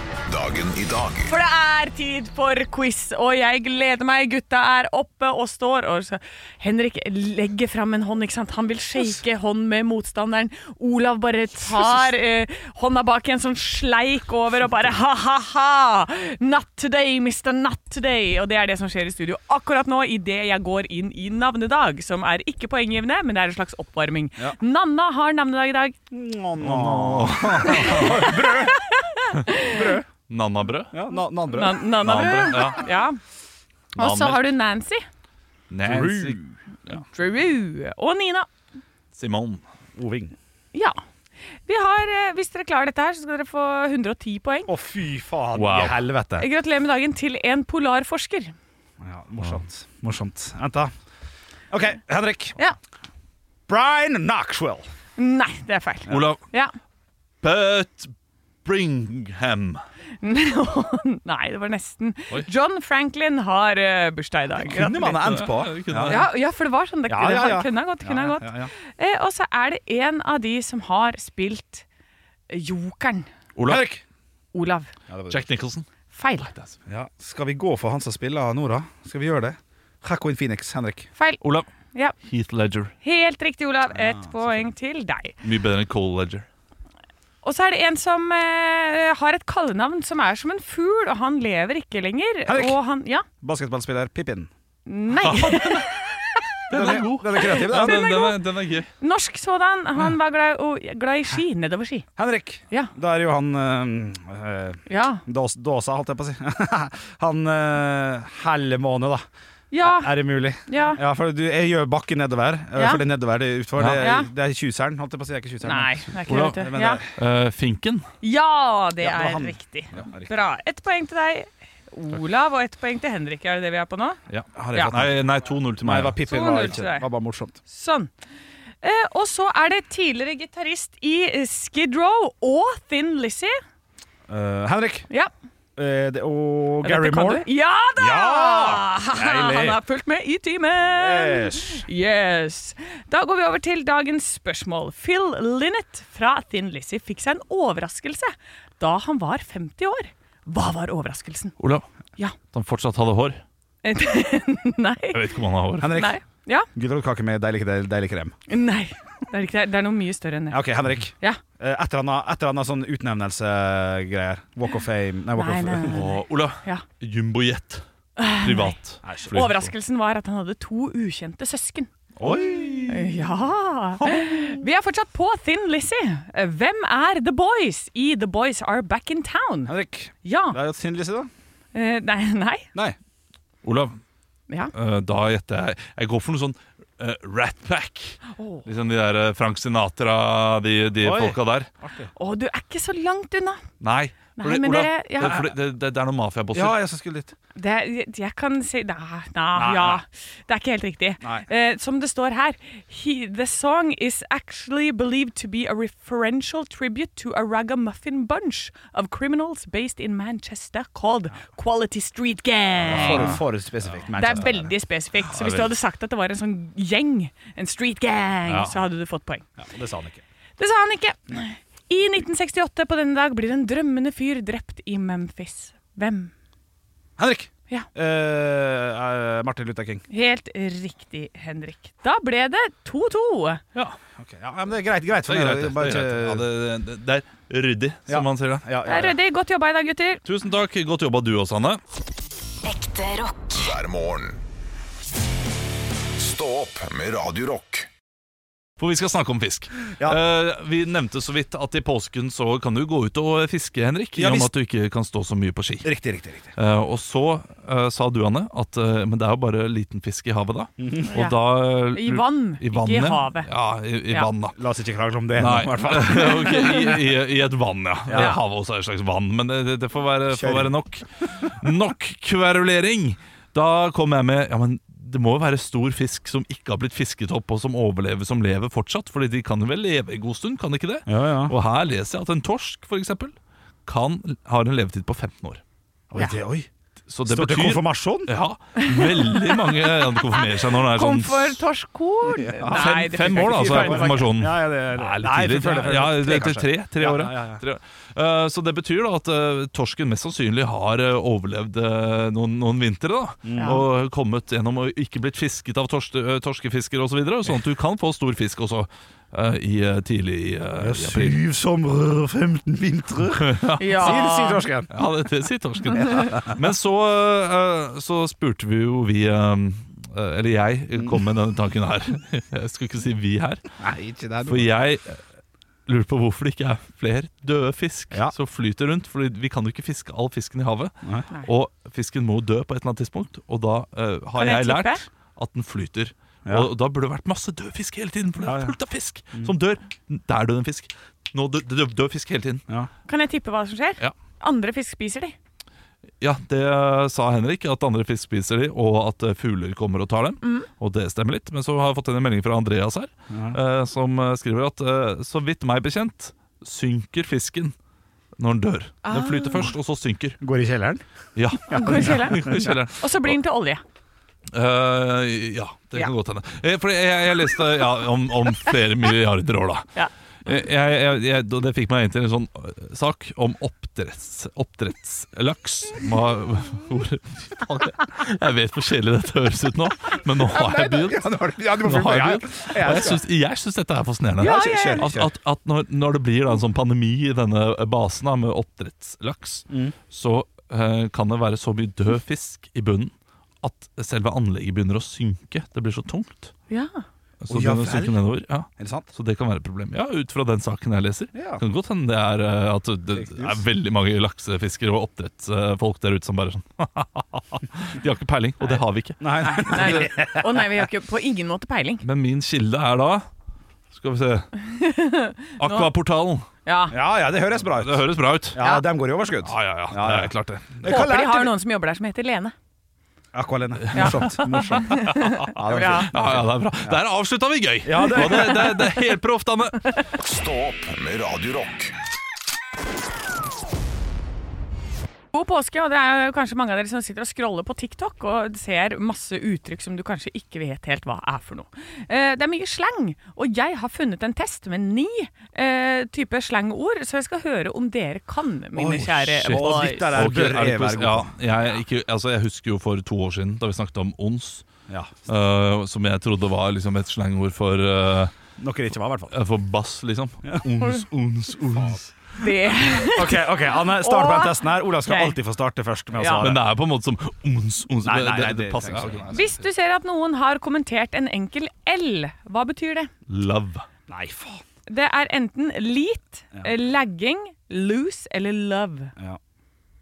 A: Dagen i dag
C: For det er tid for quiz, og jeg gleder meg. Gutta er oppe og står. Og så Henrik legger fram en hånd. ikke sant? Han vil shake hånd med motstanderen. Olav bare tar eh, hånda bak i en sånn sleik over og bare ha-ha-ha. Not today, Mr. Not today. Og det er det som skjer i studio akkurat nå idet jeg går inn i navnedag, som er ikke poenggivende, men det er en slags oppvarming. Nanna har navnedag i dag.
B: Nannabrød?
E: Ja, na, na andre.
C: Nan Nanna,
B: Nanna,
C: ja. ja. Og så
B: Nanna.
C: har du Nancy.
B: Nancy
C: Drew og Nina.
B: Simone.
E: Oving.
C: Ja. Vi har, eh, hvis dere klarer dette her, så skal dere få 110 poeng.
E: Å, fy faen
B: Wow.
E: i helvete.
C: Gratulerer med dagen til en polarforsker.
E: Ja, morsomt. Morsomt. Vent, da. OK, Henrik.
C: Ja.
E: Brian Knoxwell.
C: Nei, det er feil.
B: Olav
C: Ja. <laughs>
B: Bert Bringham.
C: Nei, det var nesten.
B: Oi.
C: John Franklin har eh, bursdag i dag.
E: Kunne man ha endt på.
B: Ja, det kunne man.
C: Ja, ja, for det var sånn. Det
E: Ja, ja, ja.
C: det kunne ha gått. Kunne ha gått.
E: Ja, ja, ja.
C: Eh, og så er det en av de som har spilt eh, jokeren.
B: Olav
E: Henrik.
C: Olav.
B: Jack Nicholson.
C: Feil.
E: Ja, skal vi gå for han som spiller nå, da? Skal vi gjøre det? Hacko in Phoenix, Henrik.
C: Feil.
B: Olav
C: Ja,
B: Heath Ledger.
C: Helt riktig, Olav. Ett poeng til deg.
B: Mye bedre enn Cole Ledger.
C: Og så er det en som eh, har et kallenavn som er som en fugl, og han lever ikke lenger.
E: Henrik!
C: Og han, ja,
E: Basketballspiller Pippin.
C: nei,
E: <laughs>
B: Den er god.
E: Den er kreativ,
B: Ja,
E: den.
B: den, den, er, den er gøy.
C: norsk sådan. Han var glad, og, glad i ski, nedover ski.
E: Henrik.
C: Ja.
E: Da er jo han eh, eh,
C: Ja,
E: Dås, Dåsa, holdt jeg på å si. <laughs> han uh, Hellemåne, da.
C: ja,
E: Er det mulig?
C: ja.
E: Ja, for du, jeg gjør bakken nedover. eh,
C: Ja.
E: For det er nedover det er utfor.
B: Ja.
E: Det,
C: Ja.
E: er- det er tjuseren, holdt jeg på å si. Det er ikke tjuseren.
C: Nei, det er ikke det. vet
E: Olav,
C: du.
E: men det
C: Ja.
E: er-
B: Eh, Finken.
C: ja, det
E: Ja, det var
C: er
E: han.
C: riktig.
E: Ja, det er riktig.
C: Bra. Ett poeng til deg, Olav, og ett poeng til Henrik. Er det det vi er på nå?
B: Ja.
E: Har jeg
C: Ja.
E: fått den?
B: Nei, nei 2-0 til
E: Nei,
B: meg.
E: det var Pippin.
C: 2-0
E: Var
C: til
E: ikke,
C: deg.
E: det var bare morsomt.
C: Sånn. Eh, og så er det tidligere gitarist i eh, Skid Row og Thin Lizzie.
E: Eh, Henrik
C: Ja.
E: eh, det, og
C: Dette
E: Gary
C: kan
E: Moore.
C: du. Ja da!
E: Ja!
C: <laughs> Han har fulgt med i timen!
E: Yes.
C: Yes. Da går vi over til dagens spørsmål. Phil Linnett fra Thin Lizzie fikk seg en overraskelse da han var 50 år. Hva var overraskelsen? <laughs>
B: Olav.
C: Ja.
B: At han fortsatt hadde hår.
C: Nei.
B: Jeg vet ikke om han har hår.
E: Henrik.
C: Nei. Ja.
E: Gulrotkake med deilig, deilig, deilig krem.
C: Nei. Det er, ikke det. det er noe mye større enn
E: Ja,
C: det.
E: OK, Henrik.
C: Ja.
E: Eh, Et eller annet- et eller annet sånn utnevnelsegreier. Walk of fame Nei, walk
C: Nei,
E: of
C: nei,
E: <laughs>
C: nei.
B: Og Olav.
C: Ja.
B: Jumbojet. Privat. Fly.
C: Overraskelsen var at han hadde to ukjente søsken.
B: Oi!
C: Ja! Vi er fortsatt på Thin Lizzie. Hvem er The Boys i The Boys Are Back in Town?
E: Henrik.
C: Ja.
E: Det er jo Thin Lizzie, da.
C: Eh, nei, <laughs> nei.
E: Nei.
B: Olav,
C: Ja.
B: eh, da gjetter jeg Jeg går for noe sånn eh, Rat Pack. Liksom de der eh, Frank Sinatra, de, de
E: Oi.
B: folka der.
C: Å, du er ikke så langt unna.
B: Nei,
C: Nei, men
B: Ola,
C: dere
B: det, er
C: ja,
B: fordi- det, det, det er noen mafiabosser.
E: Ja, jeg skal skulle dit.
C: det, Jeg kan si Nei, nei, ja. Det er ikke helt riktig.
E: Nei.
C: Eh, som det står her he, The song is actually believed to be a referential tribute to a ragamuffin bunch of criminals based in Manchester called Quality Street Gang.
E: Ah.
G: For, for spesifikt
C: Det er
G: Manchester.
C: veldig spesifikt. Så hvis du hadde sagt at det var en sånn gjeng, en street gang, så hadde du fått poeng.
G: Ja, og det sa han ikke.
C: Det sa han ikke. I 1968 på denne dag blir en drømmende fyr drept i Memphis. Hvem?
E: Henrik!
C: Ja.
E: Eh, eh, Martin Luther King.
C: Helt riktig, Henrik. Da ble det 2-2.
E: Ok, ja, men det er greit. greit for
B: Det er greit, det.
E: meg. Bare
B: Det er, greit. Ja,
E: ikke-
B: det, det, det er ryddig, som
E: Ja.
B: man sier det.
E: Ja,
C: Det er
E: ja, ja.
C: ryddig. Godt jobba i dag, gutter.
B: Tusen takk. Godt jobba du også, Hanne.
F: Ekte rock.
A: hver morgen. Stå opp med Radio Rock.
B: For vi skal snakke om fisk. Eh, vi nevnte så vidt at i påsken så kan du gå ut og fiske, Henrik. I
G: Ja,
B: og med
G: visst.
B: at du ikke kan stå så mye på ski.
G: Riktig, riktig. riktig
B: Eh, og så eh, sa du, Anne, at eh, men det er jo bare liten fisk i havet da. Og
C: Mm. Ja.
B: da eh,
C: I vann,
B: I vann, ja.
C: ikke i havet.
B: Ja, i, i
C: Ja.
B: vann, da.
E: La oss ikke krangle om det.
B: Nei,
E: nå, <laughs> i hvert fall.
B: <laughs> ok, i, i, I et vann, ja. Eh, Havet også er et slags vann, men det, det får være, får være nok. Nok kverulering! Da kom jeg med Ja, men det må jo være stor fisk som ikke har blitt fisket opp, og som overlever, som lever fortsatt. Fordi de kan jo vel leve en god stund, kan de ikke det?
E: Ja, ja.
B: Og her leser jeg at en torsk, for eksempel, kan, har en levetid på 15 år.
E: Oi, det, oi.
B: Så det
E: Står det
B: betyr
E: konfirmasjon?
B: ja, veldig mange ja, de konfirmerer seg når det er sånn
C: Komforttorskorn. Nei,
B: fem,
C: det
B: fem år, da, så er konfirmasjonen.
E: Ja, ja, det er det.
B: Nei,
E: Nei,
B: litt
E: for- for-
B: tidlig.
E: for-
B: Ja,
E: for-
B: det
E: kanskje.
B: til tre, tre
E: Ja,
B: år,
E: ja, ja.
B: Tre år. Eh, Så det betyr da at eh, torsken mest sannsynlig har eh, overlevd eh, noen, noen vintre. da, Og kommet gjennom og ikke blitt fisket av torske, eh, torskefisker osv. Så videre, sånn at du kan få stor fisk også eh, i, eh, tidlig i, eh, i april.
E: Syv somre og 15 vintre.
C: <laughs> Ja.
E: Sier sier torsken.
B: Ja, det, det sier torsken. Men så, eh, så spurte vi jo vi eh, Eller jeg kom med denne tanken her. <laughs> Jeg skulle ikke si vi her.
E: Nei, ikke det.
B: For jeg eh, lurer på hvorfor det ikke er flere døde fisk
E: Ja.
B: som flyter rundt. Fordi vi kan jo ikke fiske all fisken i havet.
E: Nei.
C: Nei.
B: Og fisken må jo dø på et eller annet tidspunkt. Og da eh, har
C: Kan jeg
B: jeg,
C: tippe?
B: lært at den flyter.
E: Ja.
B: Og da burde det vært masse død fisk hele tiden, for det
E: Ja, Mm.
B: er
E: ja.
B: fullt av fisk som dør. Der døde en fisk. Nå dø- dø- dør fisk hele tiden.
C: Kan jeg tippe hva som skjer?
B: Ja.
C: Andre fisk spiser de.
B: Ja, det sa Henrik, at andre fisk spiser de, og at eh, fugler kommer og tar dem. Og det stemmer litt. Men så har jeg fått en melding fra Andreas her, eh, som eh, skriver at eh, så vidt meg bekjent synker fisken når den dør. Den flyter først, og så synker.
E: Går i kjelleren?
B: Ja. <laughs>
C: Går i kjelleren.
B: I kjelleren.
C: Og så blir den til olje.
B: Eh, ja, det kan
C: Ja.
B: godt hende. Eh, Fordi jeg, jeg leste ja, om, om flere milliarder år, da.
C: Ja.
B: Eh, Jeg, jeg, jeg, og det fikk meg inn til en sånn eh, sak om oppdretts, oppdrettslaks. Hva, hvor, faen, jeg- jeg vet hvor kjedelig dette høres ut nå, men nå har jeg begynt.
E: Ja, nå har du- ja, du må
B: Nå har jeg
E: fullføre. Ja,
B: begynt.
E: ja,
B: Og jeg syns, jeg syns dette er fascinerende.
C: Ja, ja, ja.
B: At, at, at når, når det blir da en sånn pandemi i denne basen da, med oppdrettslaks,
E: Mm.
B: så eh, kan det være så mye død fisk i bunnen at selve anlegget begynner å synke. Det blir så tungt.
C: Ja.
B: Så,
E: Å, ja
B: begynner det å synke
E: vel.
B: nedover, ja.
E: Er det sant?
B: så det kan være et problem. Ja, ut fra den saken jeg leser.
E: Ja.
B: Kan godt hende det er eh, at det er veldig mange laksefiskere og oppdrettsfolk der ute som bare sånn <laughs> De har ikke peiling, og det har vi ikke.
E: Nei, nei.
C: Nei, vi- Å nei, vi har ikke på ingen måte peiling.
B: Men min kilde er da Skal vi
E: <laughs>
B: se Aquaportalen.
C: Ja.
E: Ja, ja, det høres bra ut.
B: Det høres bra ut.
E: Ja, dem går i overskudd.
B: Ja, ja, ja.
E: Ja,
B: Det
E: ja.
B: er klart,
E: <laughs>
B: det.
E: Hva
C: Håper de
E: lærte
C: har
E: du-
C: noen som jobber der som heter Lene.
E: Aqualene. Morsomt. morsomt. <laughs> Ja, det var
C: Ja.
E: fint.
B: Ja, ja, det er bra. Der avslutta vi gøy!
E: Ja, det-
B: Og det, det, det er helt proft,
E: <laughs>
B: Anne.
A: Stå opp med Radio Rock.
C: God påske, og det er jo kanskje mange av dere som sitter og scroller på TikTok og ser masse uttrykk som du kanskje ikke vet helt hva er for noe. Eh, Det er mye slang, og jeg har funnet en test med ni eh, typer slangord, så jeg skal høre om dere kan, mine
E: Oi,
C: kjære
B: shit.
E: Og
C: boys.
E: dette der
B: Ok, er
E: bør
B: det
E: jeg være
B: pos-
E: god på.
B: ja, jeg, er ikke, altså, jeg husker jo for to år siden, da vi snakket om ons,
E: Ja.
B: øh, som jeg trodde var liksom, et slangord for, øh,
E: Noe det ikke var, i hvert fall.
B: for bass, liksom. Ons, ons, ons.
C: Det,
E: <laughs> Ok, ok, Anne, start på
C: Åh.
E: den testen her. Olav skal
C: Ok.
E: alltid få starte først med å
C: Ja.
B: Men
E: svare.
B: det er på en måte som ons, ons.
E: Nei, nei, nei,
B: det, det,
E: det
B: det passer
E: trenger ikke.
B: ikke.
C: hvis du ser at noen har kommentert en enkel L, hva betyr det?
E: sånn.
B: Love.
E: Nei, faen.
C: Det er enten lit, eh, lagging, loose eller love.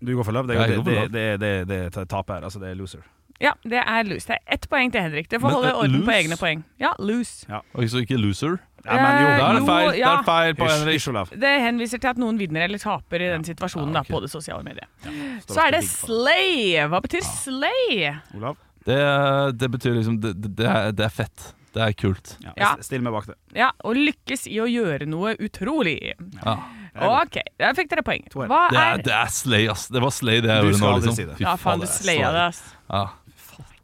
E: Du går for love. Det,
B: Jeg
E: det,
B: går for
E: det,
B: love.
E: det, det, det, det taper her. Altså, det er loser.
C: Ja, det er loose. Det er ett poeng til Henrik. Det får
B: Men,
C: holde
B: eh,
C: orden på
B: loose?
C: egne poeng. Ja, loose.
B: Og ikke- så ikke loser.
E: Ja, men jo,
C: Eh,
B: Da er det
C: jo,
B: feil, det
C: ja.
B: er feil på
E: Hysj,
B: Henrik.
E: hysj, Olav.
C: Det henviser til at noen vinner eller taper i den situasjonen da, på det sosiale mediet. Så
E: ofte
C: er det
E: big for
C: slay. Hva betyr slay?
E: Olav,
B: Det, det betyr liksom det, det, er, det er fett. Det er kult.
E: ja.
C: Ja.
E: s- still meg bak det.
C: Ja, å lykkes i å gjøre noe utrolig.
B: Ja.
C: OK, der fikk dere poeng. Hva
B: Det er,
C: er
B: det er slay, ass. Det var slay det jeg
E: Du
B: gjorde nå.
E: skal aldri
B: Liksom.
E: si det.
B: Fy
C: Ja, faen, du
B: det er
C: slaya
B: slay.
C: det, ass.
B: Ja.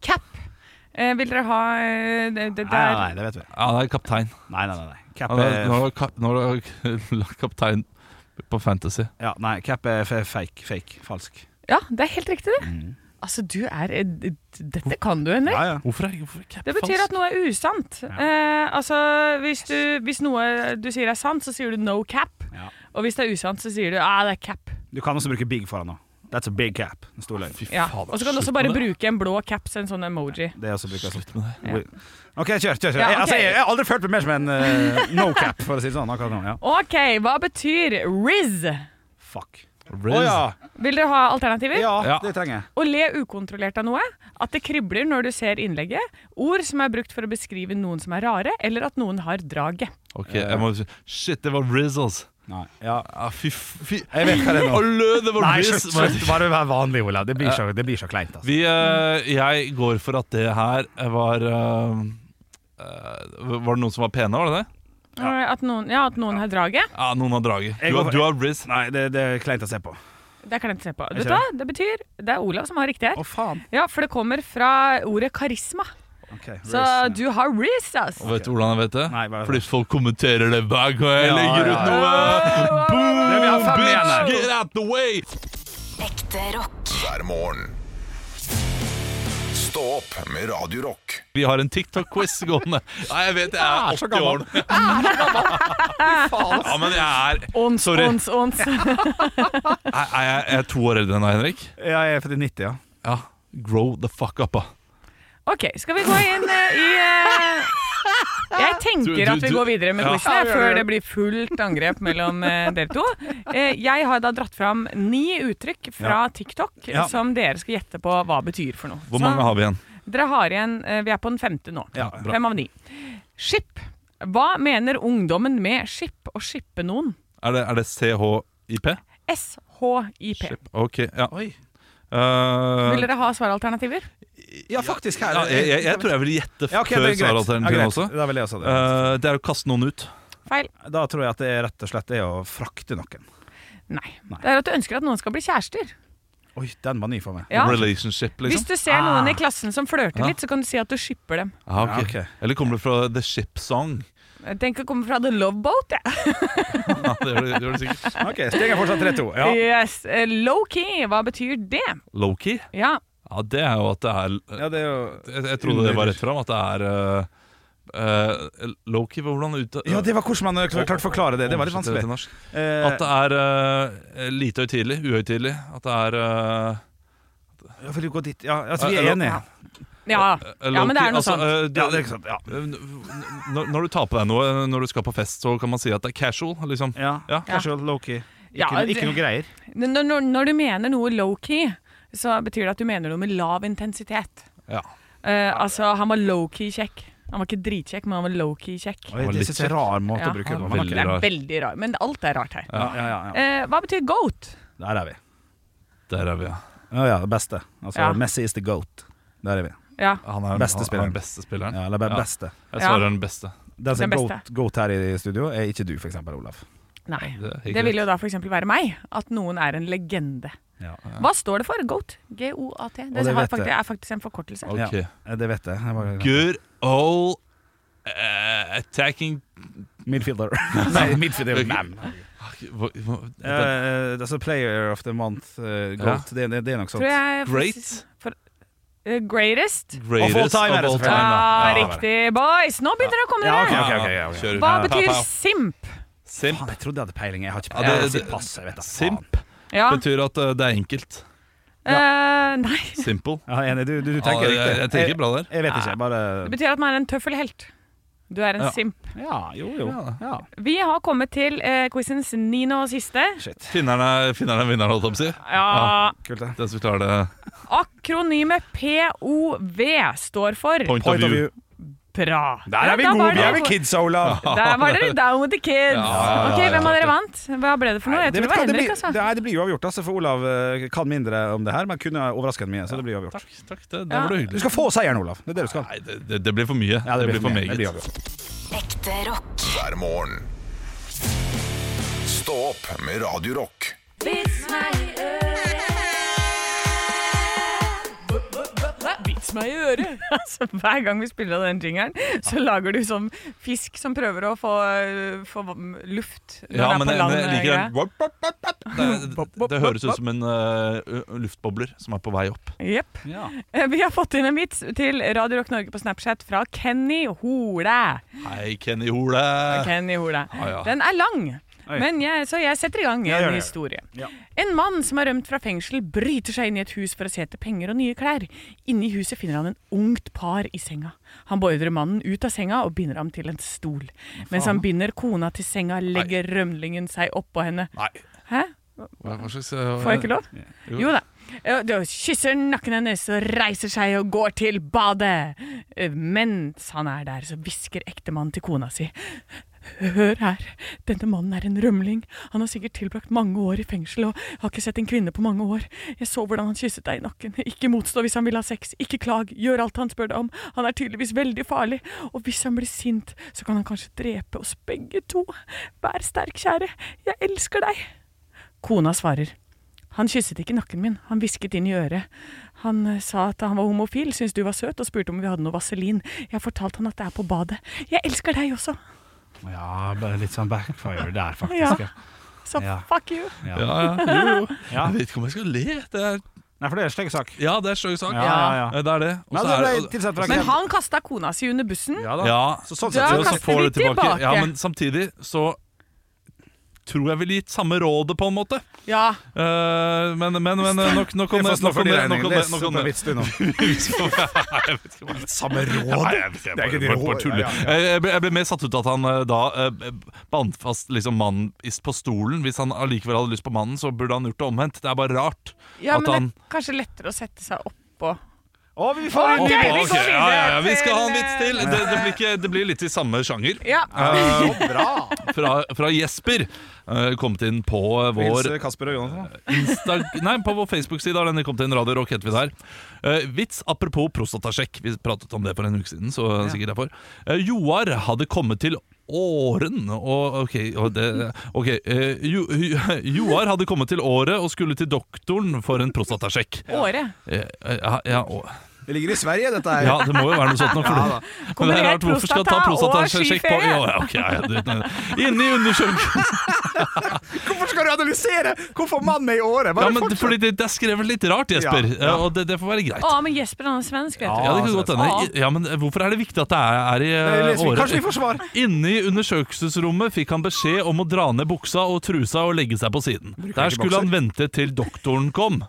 C: Cap. Eh, vil dere ha eh, det, det
E: Nei, nei,
C: der?
E: nei, det vet vi.
B: ja, det er kaptein.
E: Nei, nei, nei, nei. Cap eh,
B: Ja, det er- Nå
E: er,
B: har du kap- nå har du <laughs> lagt kaptein på Fantasy.
E: ja, nei, cap er fe- fake, fake, falsk.
C: Ja, det er helt riktig, det.
B: Mm.
C: Altså, du er eh, d- Dette kan du, Henrik.
E: Ja, ja.
B: Hvorfor er, hvorfor er cap
C: Det betyr at noe er usant. Eh, altså, hvis, du, hvis noe du sier er sant, så sier du no cap.
E: Ja.
C: Og hvis det er usant, så sier du ah, det er cap.
E: Du kan også bruke big foran nå. That's a big cap. En stor løgn.
B: Fy
C: Ja.
B: faen,
C: Og så kan du
B: slutt
C: også bare
B: med det.
C: bruke en blå caps, en sånn emoji.
E: Det er også brukt som
B: Slutt med det.
E: OK, kjør. kjør, kjør.
C: Ja,
E: Jeg, altså,
C: ok.
E: jeg, jeg har aldri følt meg mer som en eh, no cap, for å si det sånn. akkurat nå ja.
C: OK, hva betyr riz?
E: Fuck. Å
B: Riz.
E: ja.
C: Vil dere ha alternativer?
E: ja!
B: Ja.
E: Det trenger jeg.
C: Å le ukontrollert av noe, at det kribler når du ser innlegget, ord som er brukt for å beskrive noen som er rare, eller at noen har draget.
B: Ok, jeg må si Shit, det var Rizzles.
E: Nei. Ja.
B: Ja, fy, f- fy
E: Jeg vet hva det er nå.
B: Hallo, det var
E: Nei,
B: Riz.
E: slutt, slutt. Bare vær vanlig, Olav. Det blir så, det blir så kleint. Altså.
B: Vi, eh, jeg går for at det her var eh, eh, Var det noen som var pene, var det det?
C: Eh, At noen, ja, at noen har draget.
B: Ja, noen har draget.
E: Jeg
B: Du,
E: går
B: har-
E: for-
B: du har Riz.
E: Nei, det, det er kleint å se på.
C: Det kan jeg ikke se på.
E: Jeg
C: Vet du hva?
E: ser
C: Det betyr Det er Olav som har riktig her.
E: Å, faen.
C: Ja, for det kommer fra ordet karisma.
E: Ok, Riz,
C: Så
E: ja.
C: du har riz, ass.
B: Og vet du hvordan jeg vet det?
E: Nei, hva-
B: Fordi folk kommenterer det hver gang jeg
E: Ja,
B: legger ut
E: ja,
B: noe.
E: Det vi har
B: Boom,
E: fem igjen
B: bitch,
E: her.
B: get out the way!
F: Ekte rock.
A: hver morgen. Stå opp med Radio Rock.
B: Vi har en TikTok-quiz gående. Nei, jeg vet jeg
E: Ah,
B: er 80 år nå. Ja, men jeg er
C: Ons,
B: Sorry.
C: ons, ons.
B: Er er jeg er jeg to år eldre enn deg, Henrik?
E: Ja, jeg er født i 90, ja.
B: Ja. Grow the fuck up, da.
C: OK, skal vi gå inn eh, i eh, Jeg
B: Du-
C: tenker
B: du-
C: at vi
B: du-
C: går videre med
B: Ja.
C: quizen her, før det blir fullt angrep mellom eh, dere to. Eh, Jeg har da dratt fram ni uttrykk fra TikTok
E: Ja.
C: som dere skal gjette på hva betyr for noe.
B: Hvor mange har vi igjen?
C: Dere har igjen eh, Vi er på den femte nå.
E: Ja, bra.
C: Fem av ni. Skip. Hva mener ungdommen med skip å skippe noen?
B: Er det, er det CHIP?
C: SHIP.
B: Chip. Ok, ja.
E: Oi.
B: Eh,
C: Vil dere ha svaralternativer?
E: Ja, faktisk. Her.
B: ja, jeg, jeg, jeg tror jeg vil gjette
E: Ja, ok, det
B: før
E: er greit.
B: svaralternativet
E: Ja, greit.
B: også.
E: Da vil jeg også det.
B: Eh, det er å kaste noen ut.
C: Feil.
E: da tror jeg at det er rett og slett det å frakte noen.
C: Nei.
E: Nei.
C: Det er at du ønsker at noen skal bli kjærester.
E: Oi, den var ny for meg.
C: Ja.
B: Relationship,
C: Hvis
B: liksom.
C: du ser noen i klassen som flørter
B: Ja.
C: litt, så kan du si at du shipper dem.
B: Ah, ok.
E: Ja, ok.
B: Eller kommer det fra The Ship Song? <laughs>
C: Jeg tenker å komme fra The Love Boat, jeg.
B: Ja, det gjør det, det, gjør det sikkert.
E: Ok, Steg er fortsatt 3-2. Ja.
C: Yes. Eh, Low-key, hva betyr det?
B: Lowkey?
C: Ja,
B: Ja, det er jo at det er
E: ja, det er jo
B: Jeg, jeg trodde det var rett fram, at det er uh, Lowkey, hvordan ut...
E: Ja, det var hvordan man eh, klarte å forklare det. Det var litt
B: Oversette det til
E: vanskelig.
B: norsk.
E: Eh,
B: At det er eh, lite høytidelig, uhøytidelig. At det er eh,
E: ja, vil du gå dit? Ja, altså, vi er
B: Eh,
E: enige.
C: ja. ja
B: low-key,
C: men det er noe
B: altså,
C: sånt.
B: eh, det-
E: Ja, det er ikke sant. Ja.
B: N- Når, når du tar på deg noe eh, når du skal på fest, så kan man si at det er casual. liksom
E: Ja,
B: Ja.
E: Casual, low-key.
C: Ja,
E: Ikke, noe-
C: det-
E: ikke noe greier.
C: Når, når, når du mener noe low-key, så betyr det at du mener noe med lav intensitet.
B: Ja.
C: Eh, altså, han var low-key kjekk. Han var ikke dritkjekk, men han var low-key kjekk.
E: Oi,
B: var
E: det
B: litt
E: synes jeg er en rar måte
C: Ja.
E: å bruke det på. men ok.
C: Det
B: Veldig
C: er
B: rar.
C: veldig rar, men alt er rart her.
E: Ja, ja, ja, ja.
C: Eh, hva betyr goat?
E: Der er vi.
B: Der er vi, ja.
E: Ja, ja, det beste. Altså,
C: Ja.
E: Messi is the goat. Der er vi.
C: Ja.
B: Han er
E: Beste
B: han-
E: spilleren.
B: Han er beste spilleren.
E: Ja, eller be-
B: Ja.
E: beste.
B: Jeg
C: Ja.
B: svarer den beste.
E: Den som
C: Den
E: er
C: beste.
E: goat, goat her i studio, er ikke du, for eksempel, Olav.
C: Nei.
B: Det er helt
C: Det vil
B: greit.
C: jo da for eksempel være meg, at noen er en legende.
E: Ja.
C: Hva står det for? GOAT? G-O-A-T. Det,
E: det
C: har
E: vet
C: faktisk,
E: jeg.
C: er faktisk en forkortelse.
B: Ok.
E: Ja, det vet jeg. jeg bare,
B: Good old eh, attacking <laughs>
E: Midfielder. Nei, midfielder.
B: Ok.
E: Man.
B: hva, hva, det-
E: Eh, altså player of the month, eh, goat. Det, det, det er nok sånt.
C: Tror jeg
B: Great?
C: For, eh, greatest?
B: Greatest
E: Og full time er det
B: of all
E: selvfølgelig.
B: time.
C: Ah,
E: Ja,
C: riktig, boys! Nå begynner det å komme
E: Ja,
C: dere.
E: ok, ok, ja, ok.
B: Kjør ut.
C: Hva
B: Ja,
C: betyr
B: pow, pow.
C: simp?
B: Simp.
E: Faen, jeg trodde jeg hadde peiling. Jeg har
B: Ja,
E: ikke
B: det-
E: peiling. Jeg sier
B: det-
E: pass, jeg vet da faen.
B: Simp
C: Ja.
B: betyr at eh, det er enkelt.
C: Eh, nei.
B: Simple.
E: Ja, enig. Du, du, du
B: Ja,
E: tenker
B: jeg,
E: riktig.
B: jeg tenker bra der.
E: Jeg vet ikke, jeg bare
C: Det betyr at man er en tøffelhelt. Du er en
B: Ja.
C: simp.
E: Ja, jo, jo. Ja.
C: Vi har kommet til eh, quizens niende og siste.
B: Finneren er finneren er vinneren, holdt jeg på å si.
C: Ja,
E: Kult, det.
B: Den som klarer det.
C: Akronymet POV står for
B: Point,
E: Point
B: of
E: of
B: view.
C: Bra.
E: Der er vi
C: Ja, da var
E: gode! Vi
C: det-
E: er ved kidsa, Olav.
C: Der var dere down with the kids.
B: ja,
C: Ok, Hvem av dere vant? Hva ble det for noe?
E: Nei,
C: Jeg tror det
E: vet
C: var
E: hva,
C: Henrik.
E: blir,
C: altså
E: det, er- det blir uavgjort, altså, for Olav eh, kan mindre om det her, men kunne overrasket mye. Så det blir uavgjort.
B: Takk, takk. Det, det var det
E: Du
B: hyggelig.
E: skal få seieren, Olav. Det er det du skal.
B: Nei, det, det, det blir for mye.
E: Ja,
B: det, blir for
E: mye. Det blir
B: meget.
E: uavgjort.
F: Ekte rock.
A: hver morgen. Stå opp med Radio Rock.
C: Vits meg i øret! <laughs> altså, hver gang vi spiller av den jingeren, så lager du sånn fisk som prøver å få, øh, få luft når
B: Ja,
C: den er
B: men
C: på
B: jeg,
C: land. eh,
B: jeg liker den. Wop, wop, wop, wop. Det, det, det høres ut som en eh, luftbobler som er på vei opp.
C: Jepp. <laughs> Eh, Vi har fått inn en vits til Radio Rock Norge på Snapchat fra Kenny Hole.
B: Hei, Kenny Hole.
C: Kenny Hole.
B: Ah, ja.
C: Den er lang,
E: Eh, Oi.
C: men jeg, så jeg setter i gang
E: gjør
C: en
E: det.
C: historie.
E: Ja.
C: En mann som har rømt fra fengsel, bryter seg inn i et hus for å se etter penger og nye klær. Inne i huset finner han en ungt par i senga. Han beordrer mannen ut av senga og binder ham til en stol. Mens han binder kona til senga, legger rømlingen seg oppå henne.
B: Nei.
C: Hæ?
B: Hva hva slags eh,
C: Får jeg ikke lov?
B: Jo.
C: Jo da. Eh, Da kysser nakken hennes og reiser seg og går til badet. Eh, Mens han er der, så hvisker ektemannen til kona si. Hør her, denne mannen er en rømling. Han har sikkert tilbrakt mange år i fengsel og har ikke sett en kvinne på mange år. Jeg så hvordan han kysset deg i nakken. Ikke motstå hvis han vil ha sex. Ikke klag. Gjør alt han spør deg om. Han er tydeligvis veldig farlig. Og hvis han blir sint, så kan han kanskje drepe oss begge to. Vær sterk, kjære. Jeg elsker deg. Kona svarer. Han kysset ikke nakken min, han hvisket inn i øret. Han eh, sa at han var homofil, syntes du var søt og spurte om vi hadde noe vaselin. Jeg fortalte han at det er på badet. Jeg elsker deg også.
E: Ja, bare litt sånn backfire der,
C: Ja.
E: faktisk. Ja.
C: Så
E: Ja.
C: fuck you.
E: Ja.
B: Ja, ja. Jo, jo.
E: Ja.
B: Jeg vet ikke om jeg skal le. Det er,
E: Nei, for det er en stygg sak.
B: ja, det er sløy sak.
E: Ja, ja, ja.
B: Eh, Det er det. Og
E: Nei,
B: så
E: det
B: er
E: ble
B: det-
E: tilsatt fra
C: Men
E: Ken.
C: han kasta kona si under bussen.
E: Ja da.
B: Ja,
E: Så sånn
C: Da
E: sett
B: Og så
C: kaster
B: får
C: vi
B: du tilbake.
C: tilbake.
B: Ja, men samtidig så tror jeg ville gitt samme rådet, på en måte.
C: Ja.
B: Eh, men, men, men eh, nok, nok om
E: Vi
B: det.
E: får stå
B: Nok
E: for
B: om
E: de
B: det. Nok om
E: regningene.
B: det.
E: Les
B: Nok om
E: på
B: det. <laughs>
E: vits du nå.
B: Jeg vet ikke hva det-
E: Samme råd!
B: Jeg
E: Det er
B: bare-
E: ikke de
B: bare- bare
E: råd.
B: tuller.
E: Ja, ja,
B: Jeg- Jeg ble, jeg ble mer satt ut av at han eh, da eh, bandt fast liksom mannen i- på stolen. Hvis han allikevel hadde lyst på mannen, så burde han gjort det omvendt. Det er bare rart.
C: ja,
B: At
C: men det
B: han-
C: er kanskje lettere å sette seg oppå.
E: Å, vi får en
C: Ok,
E: ny
C: vi går
E: vits!
B: Ok, ja, ja, ja. Vi skal ha en
C: til,
B: vits til.
C: eh,
B: Det, det, blir, ikke, det blir litt i samme sjanger.
C: Ja.
E: Så bra!
B: Fra, fra Jesper. eh, Kommet inn på vår
E: Hilse eh, Kasper og Jonas. da.
B: Insta Nei, på vår Facebook-side har den kommet inn Radio Rock, heter vi der. Eh, vits apropos prostatasjekk. Vi pratet om det for en uke siden, så sikkert derfor. Eh, Joar hadde kommet til Åren og OK, og det, ok, eh, jo, jo, <laughs> Joar hadde kommet til året og skulle til doktoren for en prostatasjekk.
C: Året.
B: Eh, Ja, ja, å-
E: Det ligger i Sverige, dette her.
B: ja, det må jo være noe sånt. Nå, for det- men det er
C: Kombinert
B: rart, hvorfor skal ta
C: prostata og
B: prostatasjekk på
C: skiferie.
B: ja, ja, ok, ja, ja, det- Inni undersøkelsen
E: <laughs> Hvorfor skal du analysere hvorfor mannen er i året? Bare
B: ja, men
E: fortsett.
B: Fordi det det er skrevet litt rart, Jesper,
E: Ja, altså, ja.
B: eh, og det, det får være greit.
C: Å, men Jesper han er svensk, vet du.
B: Ja, det kan godt hende. Ja, men eh, hvorfor er det viktig at det er,
E: Nei,
B: er i
E: les
B: eh,
E: vi.
B: året?
E: Kanskje vi får svar.
B: Inne i undersøkelsesrommet fikk han beskjed om å dra ned buksa og trusa og legge seg på siden. Der skulle han vente til doktoren kom.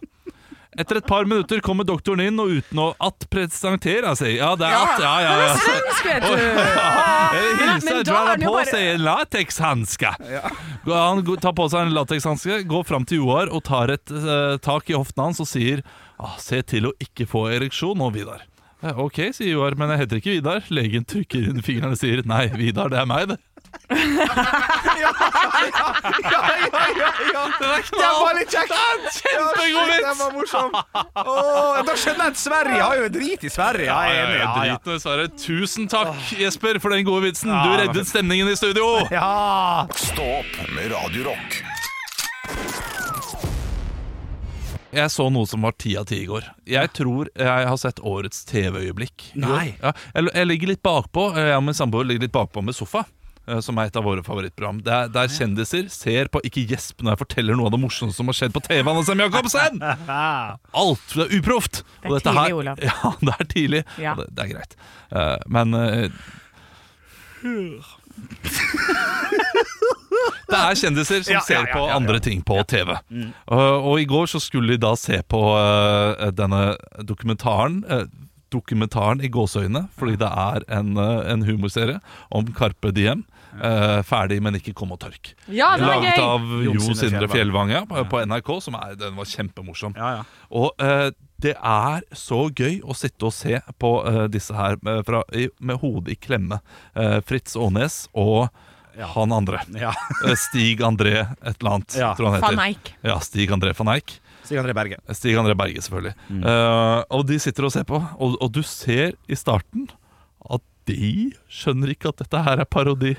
B: Etter et par minutter kommer doktoren inn, og uten å at presentere seg Ja, det er at, ja, ja, ja.
C: Svensk, vet du!
B: <laughs> Jeg
C: Men-
B: hilser
C: men
B: at
C: da
B: du
C: er
B: har
C: det jo
B: på
C: bare-
B: seg en latekshanske. Han go- tar på seg en latekshanske, går fram til Joar og tar et eh, tak i hoften hans og sier ah, Se til å ikke få ereksjon nå, Vidar. Eh, Ok, sier Joar, men jeg heter ikke Vidar. Legen trykker inn fingrene og sier nei, Vidar, det er meg, det.
E: Ja, ja, ja, ja.
B: Det er
E: Det var
B: knall!
E: litt kjekt!
B: kjempegod vits.
E: Det var morsom. Åh, da skjønner jeg at Sverige har jo drit i Sverige.
B: Ja,
E: Jeg er enig,
B: ja,
E: ja, ja.
B: driten, dessverre. Tusen takk, Jesper, for den gode vitsen. Du
E: det var
B: reddet stemningen i studio!
E: Ja.
A: Stå opp med Radio Rock
B: Jeg så noe som var ti av ti i går. Jeg tror jeg har sett årets TV-øyeblikk. i går.
E: Nei.
B: Ja, jeg, jeg ligger litt bakpå. eh, Jeg og min samboer ligger litt bakpå med Sofa. eh, Som er et av våre favorittprogram. Der, der kjendiser ser på Ikke gjesp når jeg forteller noe av det morsomste som har skjedd på TV. Anne Sem
C: <laughs>
B: Jacobsen! Alt! Det er uproft!
C: Det er
B: dette
C: tidlig, Olav.
B: <laughs> Ja, det er tidlig.
C: Ja.
B: Og det, det er greit. Eh, men eh,
E: <laughs>
B: Det er kjendiser som
E: Ja,
B: ser
E: ja, ja,
B: på
E: ja, Mm. ja.
B: andre ting på TV. Og, og i går så skulle de da se på eh, denne dokumentaren. eh, dokumentaren i gåseøyne, fordi det er en, eh, en humorserie om Carpe Diem. eh, ferdig, men ikke kom og tørk.
H: Ja, den er
B: Laget
H: gøy!
B: av
E: Jon
B: Jo
E: Sindre
B: Sindre Fjellvang
E: Fjellvang.
B: ja, på- på NRK, som er, den var kjempemorsom.
E: Ja, ja.
B: Og eh, det er så gøy å sitte og se på eh, disse her med, fra, i, med hodet i klemme. Eh, Fritz Aanes og han andre.
E: Ja.
B: Eh, Stig André et eller annet,
E: Ja.
B: tror jeg han heter.
C: Van Eyck.
B: Ja, Stig André van Eyck.
I: Stig André Berge.
B: Stig André Berge, selvfølgelig.
E: Mm.
B: Eh, og de sitter og ser på, og, og du ser i starten at de skjønner ikke at dette her er parodi.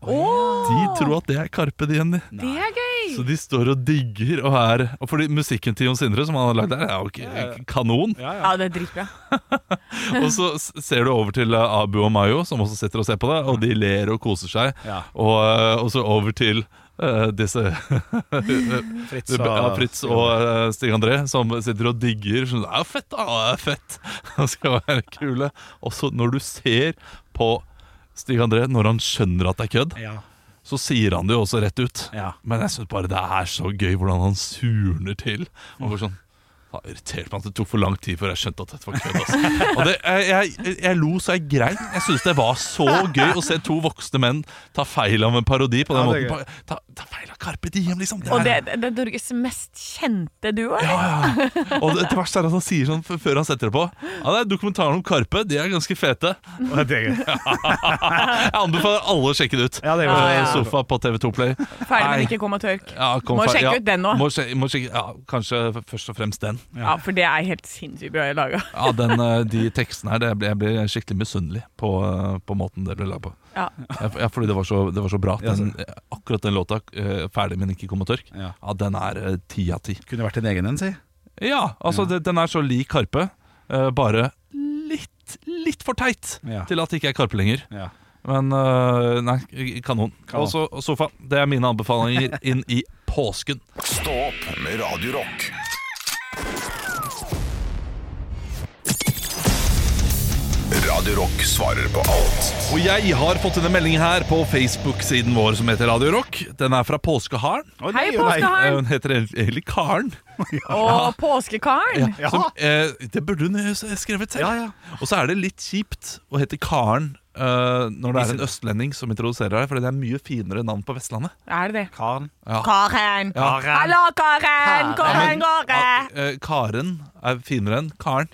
B: De tror at det er Carpe Diem. de.
C: Det er gøy!
B: Så de står og digger og er og Fordi musikken til Jon Sindre som han har lagd der, er jo ikke kanon.
C: Ja, det er dritbra.
B: <laughs> Og så s- ser du over til eh, Abu og Mayo, som også sitter og ser på det, og de ler og koser seg.
E: Ja.
B: Og, eh, og så over til eh, disse <laughs>
I: Fritz og
B: ja, Fritz og eh, Stig André, som sitter og digger. Sånn, det er fett, da! Det er fett! <laughs> Det skal være kule. Og så når du ser på Stig André, når han skjønner at det er kødd,
E: Ja.
B: så sier han det jo også rett ut.
E: Ja.
B: Men jeg syns bare det er så gøy hvordan han surner til.
E: Mm.
B: Og bare sånn det har irritert meg at det tok for lang tid før jeg skjønte at dette var kødd. Altså. Og det, jeg, jeg, jeg lo så jeg grein. Jeg syns det var så gøy å se to voksne menn ta feil av en parodi på den
E: Ja, det er
B: måten. Pa- Ta, ta feil av Carpe Diem, liksom. Det
C: Og
B: er-
C: det, det er Norges mest kjente duo. eller?
B: ja, ja. Og det, det verste er at han sier sånn f- før han setter det på. Ja, det er Dokumentaren om Karpe. De er ganske fete.
E: Og det er gøy.
B: Jeg anbefaler alle å sjekke det ut.
E: Ja, det er
C: Ja,
E: gøy.
B: Eh, Sofa på TV2 Play.
C: Ferdig,
B: Nei.
C: men ikke kom og tørk.
B: Ja, kom
C: Må
B: fe-
C: sjekke
B: ja,
C: ut den nå.
B: Må sjekke, må sjekke, ja, kanskje f- først og fremst den.
C: Ja, for det er helt sinnssykt bra laga.
B: Ja, den, eh, De tekstene her, det, jeg blir- jeg blir skikkelig misunnelig på, eh, på måten det ble laget på.
C: Ja.
B: Ja, for- ja, fordi det var så, det var så bra. Den, akkurat den låta, eh, 'Ferdig, men ikke kom og tørk',
E: Ja.
B: ja, den er eh, ti av ti.
E: Kunne vært en egen en, si.
B: Ja, altså det- den er så lik Karpe, eh, bare litt, litt for teit
E: Ja.
B: til at det ikke er Karpe lenger.
E: Ja.
B: Men eh, nei, kanon. Og så sofa. Det er mine anbefalinger inn i påsken.
A: Stå opp med Radio Rock. Radio Rock svarer på alt.
B: Og jeg har fått inn en melding her på Facebook-siden vår som heter Radio Rock. Den er fra Påskeharen.
C: Hei,
B: Eh,
C: påskeharen!
B: Hun heter egentlig- egentlig Karen.
C: <laughs> Og påskekaren!
B: Ja. <laughs> Som, eh, det burde hun jo s- skrevet selv. Og så er det litt kjipt å hete Karen eh, når det er en østlending som introduserer deg, Fordi det er mye finere navn på Vestlandet.
C: Er det det?
E: Karen.
C: Karen! Hallo, Karen! Hvordan går det?
B: Eh, Karen er finere enn Karen.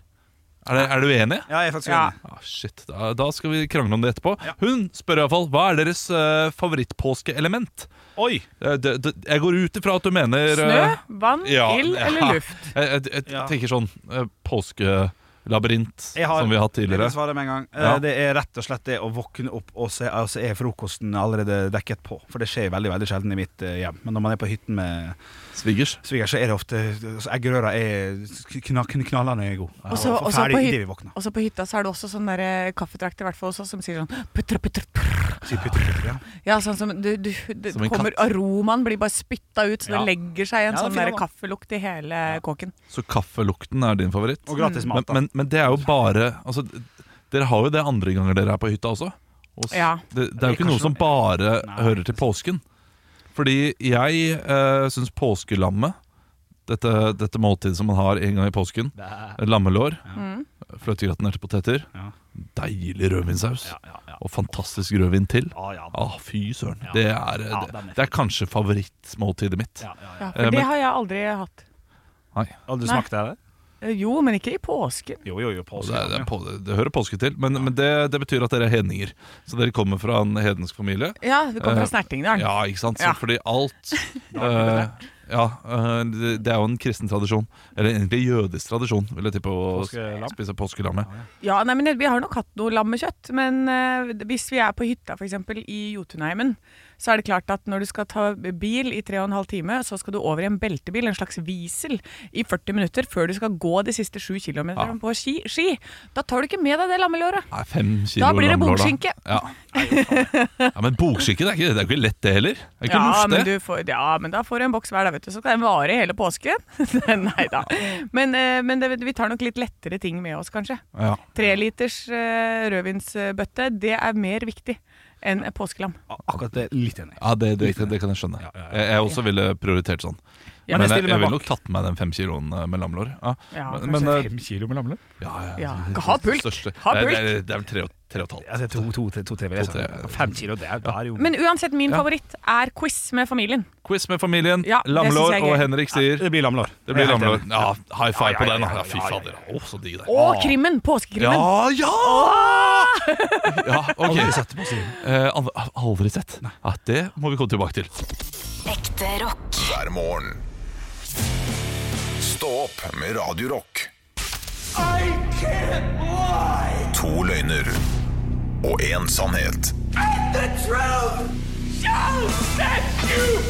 B: Er, det, er du uenig?
E: Ja, jeg er faktisk
C: Ja.
E: enig.
B: Ah, shit, da, da skal vi krangle om det etterpå. Hun spør iallfall hva er deres eh, favorittpåskeelement.
E: Oi!
B: Eh, det- det- jeg går ut ifra at du mener
C: Snø,
B: eh,
C: vann,
B: ja,
C: ild
B: ja.
C: eller luft?
B: <laughs> Jeg, jeg, jeg
E: Ja.
B: tenker sånn eh, påskelabyrint
E: Jeg har-
B: som vi har hatt
E: Jeg
B: tidligere.
E: vil svare med en gang. Eh,
B: Ja.
E: Det er rett og slett det å våkne opp og se altså er frokosten allerede dekket på. For det skjer veldig veldig sjelden i mitt eh, hjem. Men når man er på hytten med
B: Svigers.
E: svigers, så er det ofte altså, Eggerøra er kna, kn- knallende god.
C: Og så-
E: og
C: og så på
E: ferdig
C: hyt-
E: idet vi våkner.
C: Og så på hytta så er det også sånn der, eh, kaffetrakt, i hvert fall hos oss, som sier sånn putra, putra, putra.
E: Sier putter, putter, ja.
C: Ja, sånn som du, du, det
B: Som en
C: kommer,
B: katt.
C: Aromaen blir bare spytta ut, så
E: Ja.
C: det legger seg en
E: Ja, det er
C: sånn
E: fin,
C: der
E: da.
C: kaffelukt i hele kåken.
B: Så kaffelukten er din favoritt.
E: Og gratis
B: Men,
E: mat. da.
B: men, men det er jo bare altså, d- Dere har jo det andre ganger dere er på hytta også. Og s-
C: Ja.
B: det, det er jo ikke noe som bare hører til påsken. Fordi jeg eh, syns påskelammet, dette, dette måltidet som man har en gang i påsken, lammelår,
C: Mm.
B: fløtegratinerte poteter,
E: Ja.
B: deilig rødvinsaus
E: ja, ja, ja.
B: og fantastisk rødvin til.
E: Ja, ja.
B: Ah, fy søren.
E: Ja.
B: Det, er,
E: Ja,
B: det,
E: den er
B: det er kanskje favorittmåltidet mitt.
E: Ja, ja, ja.
C: Ja,
B: Eh,
C: for
B: men-
C: det har jeg aldri hatt.
E: Og du
C: Nei.
E: smakte det?
C: Eh, Jo, men ikke i påsken.
E: Jo, jo, jo.
B: Og
E: Påske,
B: Det, er, det,
E: ja.
B: er på, det hører påske til, men, men det, det betyr at dere er hedninger. Så dere kommer fra en hedensk familie.
C: Ja, det kommer
B: Eh,
C: fra Snertingdalen.
B: Ja, ikke sant? Så,
C: Ja.
B: Fordi
E: <laughs>
B: alt eh, Ja, eh, det, det er jo en kristen tradisjon. Eller egentlig jødisk tradisjon, vil jeg tippe, å
E: Påskelam?
B: spise påskelammet.
C: Ja, nei, men Vi har nok hatt noe lammekjøtt, men eh, hvis vi er på hytta for eksempel, i Jotunheimen, så er det klart at når du skal ta bil i tre og en halv time, så skal du over i en beltebil, en slags wiesel, i 40 minutter før du skal gå de siste sju kilometerne på ski, ski. Da tar du ikke med deg det lammelåret.
B: Nei, fem kilo
C: Da blir det
B: lammelår, da.
C: bokskinke.
B: Ja. ja, men bokskinke det er, ikke, det er jo ikke lett, det heller. Det er ikke
C: Ja
B: luft, det.
C: men, du får, ja, men da får du en boks hver, da, vet du. Så skal den vare hele påsken. <laughs> nei da. Men, eh, men det, vi tar nok litt lettere ting med oss, kanskje.
B: Ja.
C: Treliters uh, rødvinsbøtte, det er mer viktig enn påskelam.
E: Akkurat det. Litt enig.
B: Ja, det, det, det, kan jeg skjønne. Jeg, jeg også ville prioritert sånn. Men
E: jeg
B: jeg,
E: stiller
B: jeg,
E: meg
B: ville
E: bak. Altså,
B: nok tatt med den fem kiloen eh, med lammelår. Ja.
C: Ja,
B: Men-
C: kanskje.
B: men, eh,
E: Fem kilo med lammelår?
B: ja, ja,
C: Ja,
B: det-
C: ha
B: det
C: pulk.
B: største.
C: Ha
B: Nei, Det,
C: pulk.
B: er- det er vel tre og, tre og et halvt.
E: Altså, to, to, to, to, tre, vil jeg
B: To,
E: si.
B: tre.
E: Fem kilo, det er, da er jo
C: Men uansett, min
B: Ja.
C: favoritt er quiz med familien.
B: Quiz med familien.
C: Ja, det synes
B: lammelår
C: jeg er
B: og
C: gøy.
B: Henrik sier
E: Det blir lammelår.
B: Det blir
E: Jeg er helt
B: lammelår.
E: enig.
B: Ja, high five
E: Ja,
B: på
E: ja,
B: den. da.
E: ja,
B: Ja,
E: ja,
B: fy
E: ja, ja.
B: fader. Å, så digg det er.
C: Og krimmen! Påskekrimmen.
B: Ja, ja! ja ok. Aldri sett. Eh, aldri, aldri sett. Ja, det må vi komme tilbake til.
F: Ekte rock.
A: hver morgen. Stå opp med Radio Rock. To løgner og én sannhet.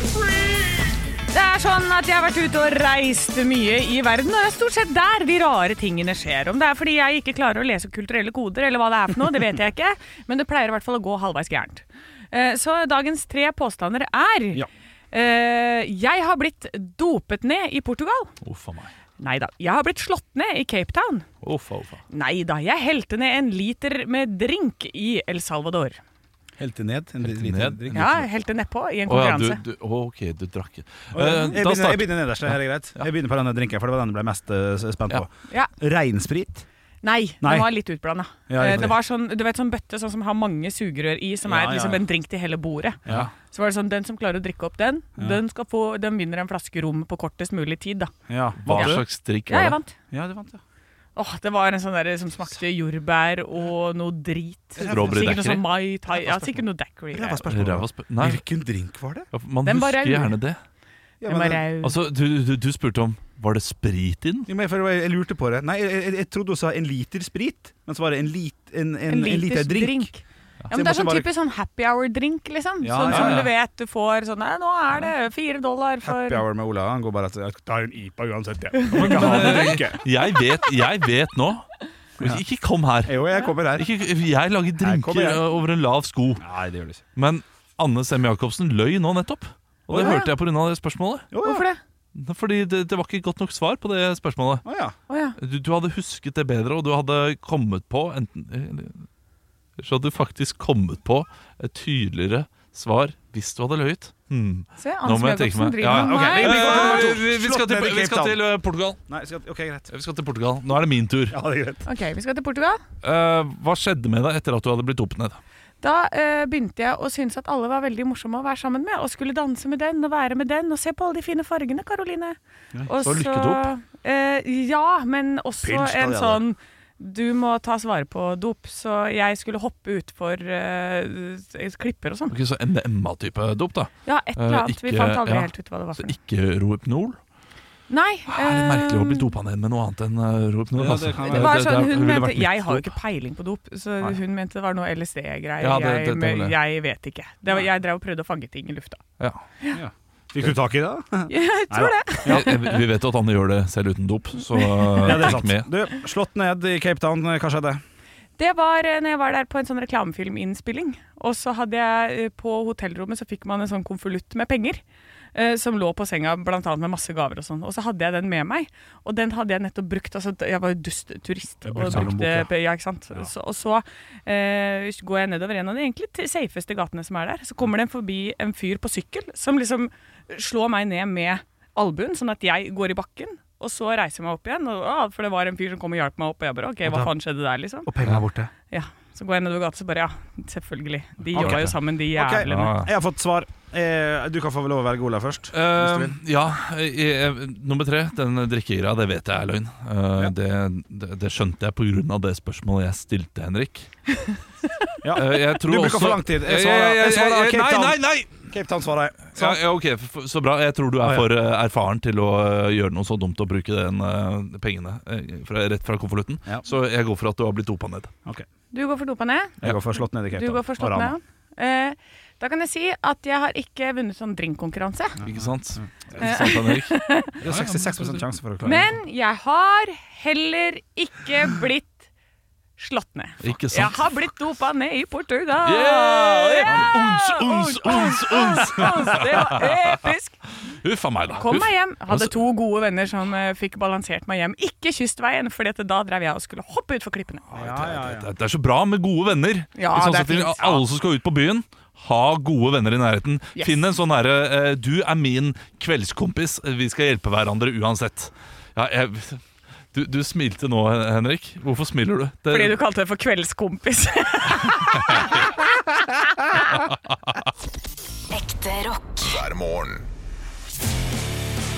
C: Det er sånn at jeg har vært ute og reist mye i verden, og det er stort sett der de rare tingene skjer. Om det er fordi jeg ikke klarer å lese kulturelle koder, eller hva det er for noe, det vet jeg ikke,
B: <laughs>
C: men det pleier i hvert fall å gå halvveis gærent. Eh, Så dagens tre påstander er eh, Jeg har blitt dopet ned i Portugal.
B: Uff a meg.
C: Nei da. Jeg har blitt slått ned i Cape Town.
B: Uff a, uff a.
C: Nei da. Jeg helte ned en liter med drink i El Salvador.
E: Helt ned. En liten
B: ned.
E: drink.
C: Ja, jeg helte nedpå i en
B: Å ja, du,
C: konkurranse.
B: du, å, ok, du drakk
E: Og Jeg
B: eh, Da
E: begynner, jeg
B: starter
E: begynner nederst, det her er greit. Jeg begynner på denne drinken, for det var den jeg ble mest eh, spent
B: Ja.
E: på.
C: Ja.
E: Reinsprit.
C: Nei,
E: Nei.
C: den var litt utblanda.
E: Ja, riktig.
C: det var sånn, du vet sånn bøtte sånn som har mange sugerør i, som
E: Ja,
C: er
E: ja,
C: liksom
E: ja.
C: en drink til hele bordet.
E: Ja.
C: Så var det sånn, den som klarer å drikke opp den, den, skal få, den vinner en flaske rom på kortest mulig tid, da.
E: Ja,
B: Hva
E: vant du?
B: slags drikk
C: Ja,
B: var det?
C: jeg vant.
E: Ja, du vant, ja.
C: Åh, det var en sånn der som smakte jordbær og noe drit.
B: Strawberry
C: Sikkert noe
B: daiquiri?
C: sånn mai tai, ja, sikkert noe daiquiri.
E: Ræva
C: Den
E: spørsmål.
B: Ræva sp- Nei,
E: Hvilken drink var det?
B: man
C: Den var
B: husker
C: rau.
B: gjerne det.
C: var rau.
B: Altså, du, du, du spurte om Var det sprit i den?
E: Jo, men jeg, jeg lurte på det. Nei, jeg, jeg, jeg trodde hun sa en liter sprit, men så var det en, lit, en, en, en, liter drink.
C: Ja,
E: Så
C: men
E: jeg
C: Det er
E: måtte
C: sånn
E: bare-
C: typisk sånn happy hour-drink, liksom.
E: Ja,
C: sånn
E: ja,
C: som
E: ja.
C: du vet du får sånn Nei, nå er det fire dollar for
E: Happy hour med Ola. Han går bare etter
J: Jeg tar en IPA uansett,
C: <laughs>
J: jeg. Jeg må ikke ha det drinket.
B: Jeg vet, jeg vet nå. Ikke kom her.
E: Jo, jeg kommer her.
B: Ikke, jeg lager
E: kommer
B: drinker
E: jeg.
B: over en lav sko.
E: Nei, det gjør du ikke.
B: Men Anne Sem Jacobsen løy nå nettopp. Og det
C: Å, ja.
B: hørte jeg pga. det spørsmålet.
E: Jo,
C: Hvorfor det?
B: Fordi det, det var ikke godt nok svar på det spørsmålet.
E: Å ja.
C: Å ja.
B: Du, du hadde husket det bedre, og du hadde kommet på enten eller- Så hadde du faktisk kommet på et tydeligere svar hvis du hadde løyet. Hmm.
C: Se,
B: Nå
C: Anne
B: må jeg tenke meg
C: Smegårdsen driver med
E: ok,
C: meg.
E: vi-
B: Eh, vi, vi, skal
E: Slått ned
B: til,
E: i
B: vi
E: Cape
B: skal
E: Town.
B: til eh, Portugal.
E: Nei, skal, ok, greit.
B: Vi skal til Portugal. Nå er det min tur.
E: Ja, det er greit.
C: Ok, Vi skal til Portugal.
B: Eh, hva skjedde med deg etter at du hadde blitt dopet ned?
C: Da eh, begynte jeg å synes at alle var veldig morsomme å være sammen med, og skulle danse med den og være med den og se på alle de fine fargene, Karoline. Og
B: så lykkedop?
C: eh, ja, men også
E: Pils, da,
C: en
E: ja, det.
C: sånn du må tas vare på dop, så jeg skulle hoppe utfor uh, klipper og sånn.
B: Ok, Så MDMA-type dop, da.
C: Ja, et eller
B: Eh,
C: annet. Vi
B: ikke-
C: fant aldri
B: ja.
C: helt ut hva det var
B: Så
C: for noe.
B: ikke Rohypnol.
C: Nei.
B: Det er litt merkelig å bli
C: eh,
B: dopa ned med noe annet enn eh, Rohypnol.
E: Ja,
B: altså.
E: det kan være.
C: Det var
B: det- det
C: sånn, hun
B: ville
C: mente,
B: vært mitt
C: Jeg har jo
B: dop.
C: ikke peiling på dop, så
B: Nei.
C: hun mente det var noe LSD-greier.
B: Ja, det- det-
C: jeg,
B: det
C: men
B: vil jeg.
C: jeg vet ikke. Det var, jeg drev og prøvde å fange ting i lufta.
B: Ja.
E: Fikk du tak i det? da?
C: Jeg tror det.
B: Ja, vi vet jo at Anne gjør det selv uten dop, så
E: Ja, det er
B: tenk med.
E: sant. Du, slått ned i Cape Town, eh, hva skjedde?
C: Det var eh, når jeg var der på en sånn reklamefilminnspilling. Og så hadde jeg eh, på hotellrommet så fikk man en sånn konvolutt med penger. eh, Som lå på senga blant annet med masse gaver og sånn. Og så hadde jeg den med meg. Og den hadde jeg nettopp brukt. Altså, jeg var jo dust turist. Og,
E: brukte lommebok,
C: brukte, ja,
E: ja.
C: ikke sant? Så, og så eh, går jeg nedover en av de egentlig t- safeste gatene som er der. Så kommer det en forbi en fyr på sykkel som liksom slår meg ned med albuen, sånn at jeg går i bakken. Og så reiser jeg meg opp igjen, og, ah, for det var en fyr som kom og hjalp meg opp. Og jeg bare OK, hva faen skjedde der, liksom?
E: Og pengene er borte.
C: Ja, så går jeg nedover gata, så bare ja, selvfølgelig. De
E: Ok.
C: jobba jo sammen, de
E: Ok,
C: jævlene.
E: Jeg har fått svar. Eh, Du kan få lov å velge Ola først.
B: Eh, ja, eh, eh, nummer tre. Den drikkegira, det vet jeg er løgn. Eh, det, det, det skjønte jeg pga. det spørsmålet jeg stilte, Henrik.
E: <laughs> Ja.
B: Eh, jeg tror
E: Du bruker
B: også-
E: for lang tid. Jeg
B: Eh,
E: svarer- jeg svarer
B: eh, eh,
E: Cape
B: Nei,
E: Town.
B: nei, nei!
E: Cape Town svarer jeg. Sånn.
B: Ja, ja, ok, f- f- Så bra. Jeg tror du
E: Ah,
B: er
E: ja.
B: for eh, erfaren til å eh, gjøre noe så dumt og bruke den eh, pengene eh, fra, rett fra konvolutten.
E: Ja.
B: Så jeg går for at du har blitt dopa ned.
C: Du går for dopa ned.
E: Jeg går for slått ned i Cape
C: Du
E: Town.
C: går for
E: Og
C: slått
E: Rana.
C: ned. Eh, da kan jeg si at jeg har ikke vunnet sånn drinkkonkurranse.
B: Ikke sant? Ikke sant, Henrik?
E: Det er 66 sjanse for å klare
C: Men jeg har heller ikke blitt slått ned.
B: Ikke
C: Jeg
B: sant?
C: har blitt dopa ned i Portugal!
B: Yeah! Ons,
C: Ja!
B: ons, ons, ons!
C: Ons, Det var episk!
B: Huff a meg, da.
C: Kom
B: Huff.
C: meg hjem.
B: Altså-
C: Hadde to gode venner som eh, fikk balansert meg hjem. Ikke kystveien, for da drev jeg og skulle
B: Ah,
C: hoppe utfor klippene.
B: Det, det, det er så bra med gode venner.
C: Ja,
B: I sånn
C: det er
B: setting,
C: fint.
B: Alle som skal ut på byen, Ha gode venner i nærheten. Finn en sånn herre eh, Du er min kveldskompis, vi skal hjelpe hverandre uansett. Ja, jeg, du, du smilte nå, Henrik. Hvorfor smiler du? Det,
K: Fordi du kalte det for kveldskompis.
F: Ekte rock.
A: hver morgen.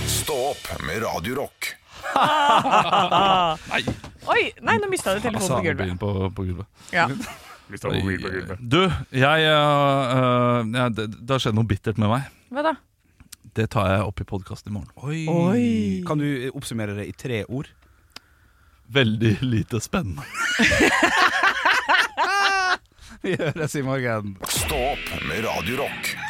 A: Stå opp med Radio Rock.
B: Nei,
K: Oi, nei, nå mista du telefonen på gulvet.
B: mobilen på, på gulvet.
K: Ja.
D: Hvis det var mobil på gulvet.
B: Du, jeg øh, øh, ja, det, det har skjedd noe bittert med meg.
K: Hva da?
B: Det tar jeg opp i podkasten i morgen.
E: Oi.
K: Oi.
E: Kan du oppsummere det i tre <laughs> ord?
B: Veldig lite spennende.
E: Vi høres i morgen.
A: Stå opp med Radio Rock.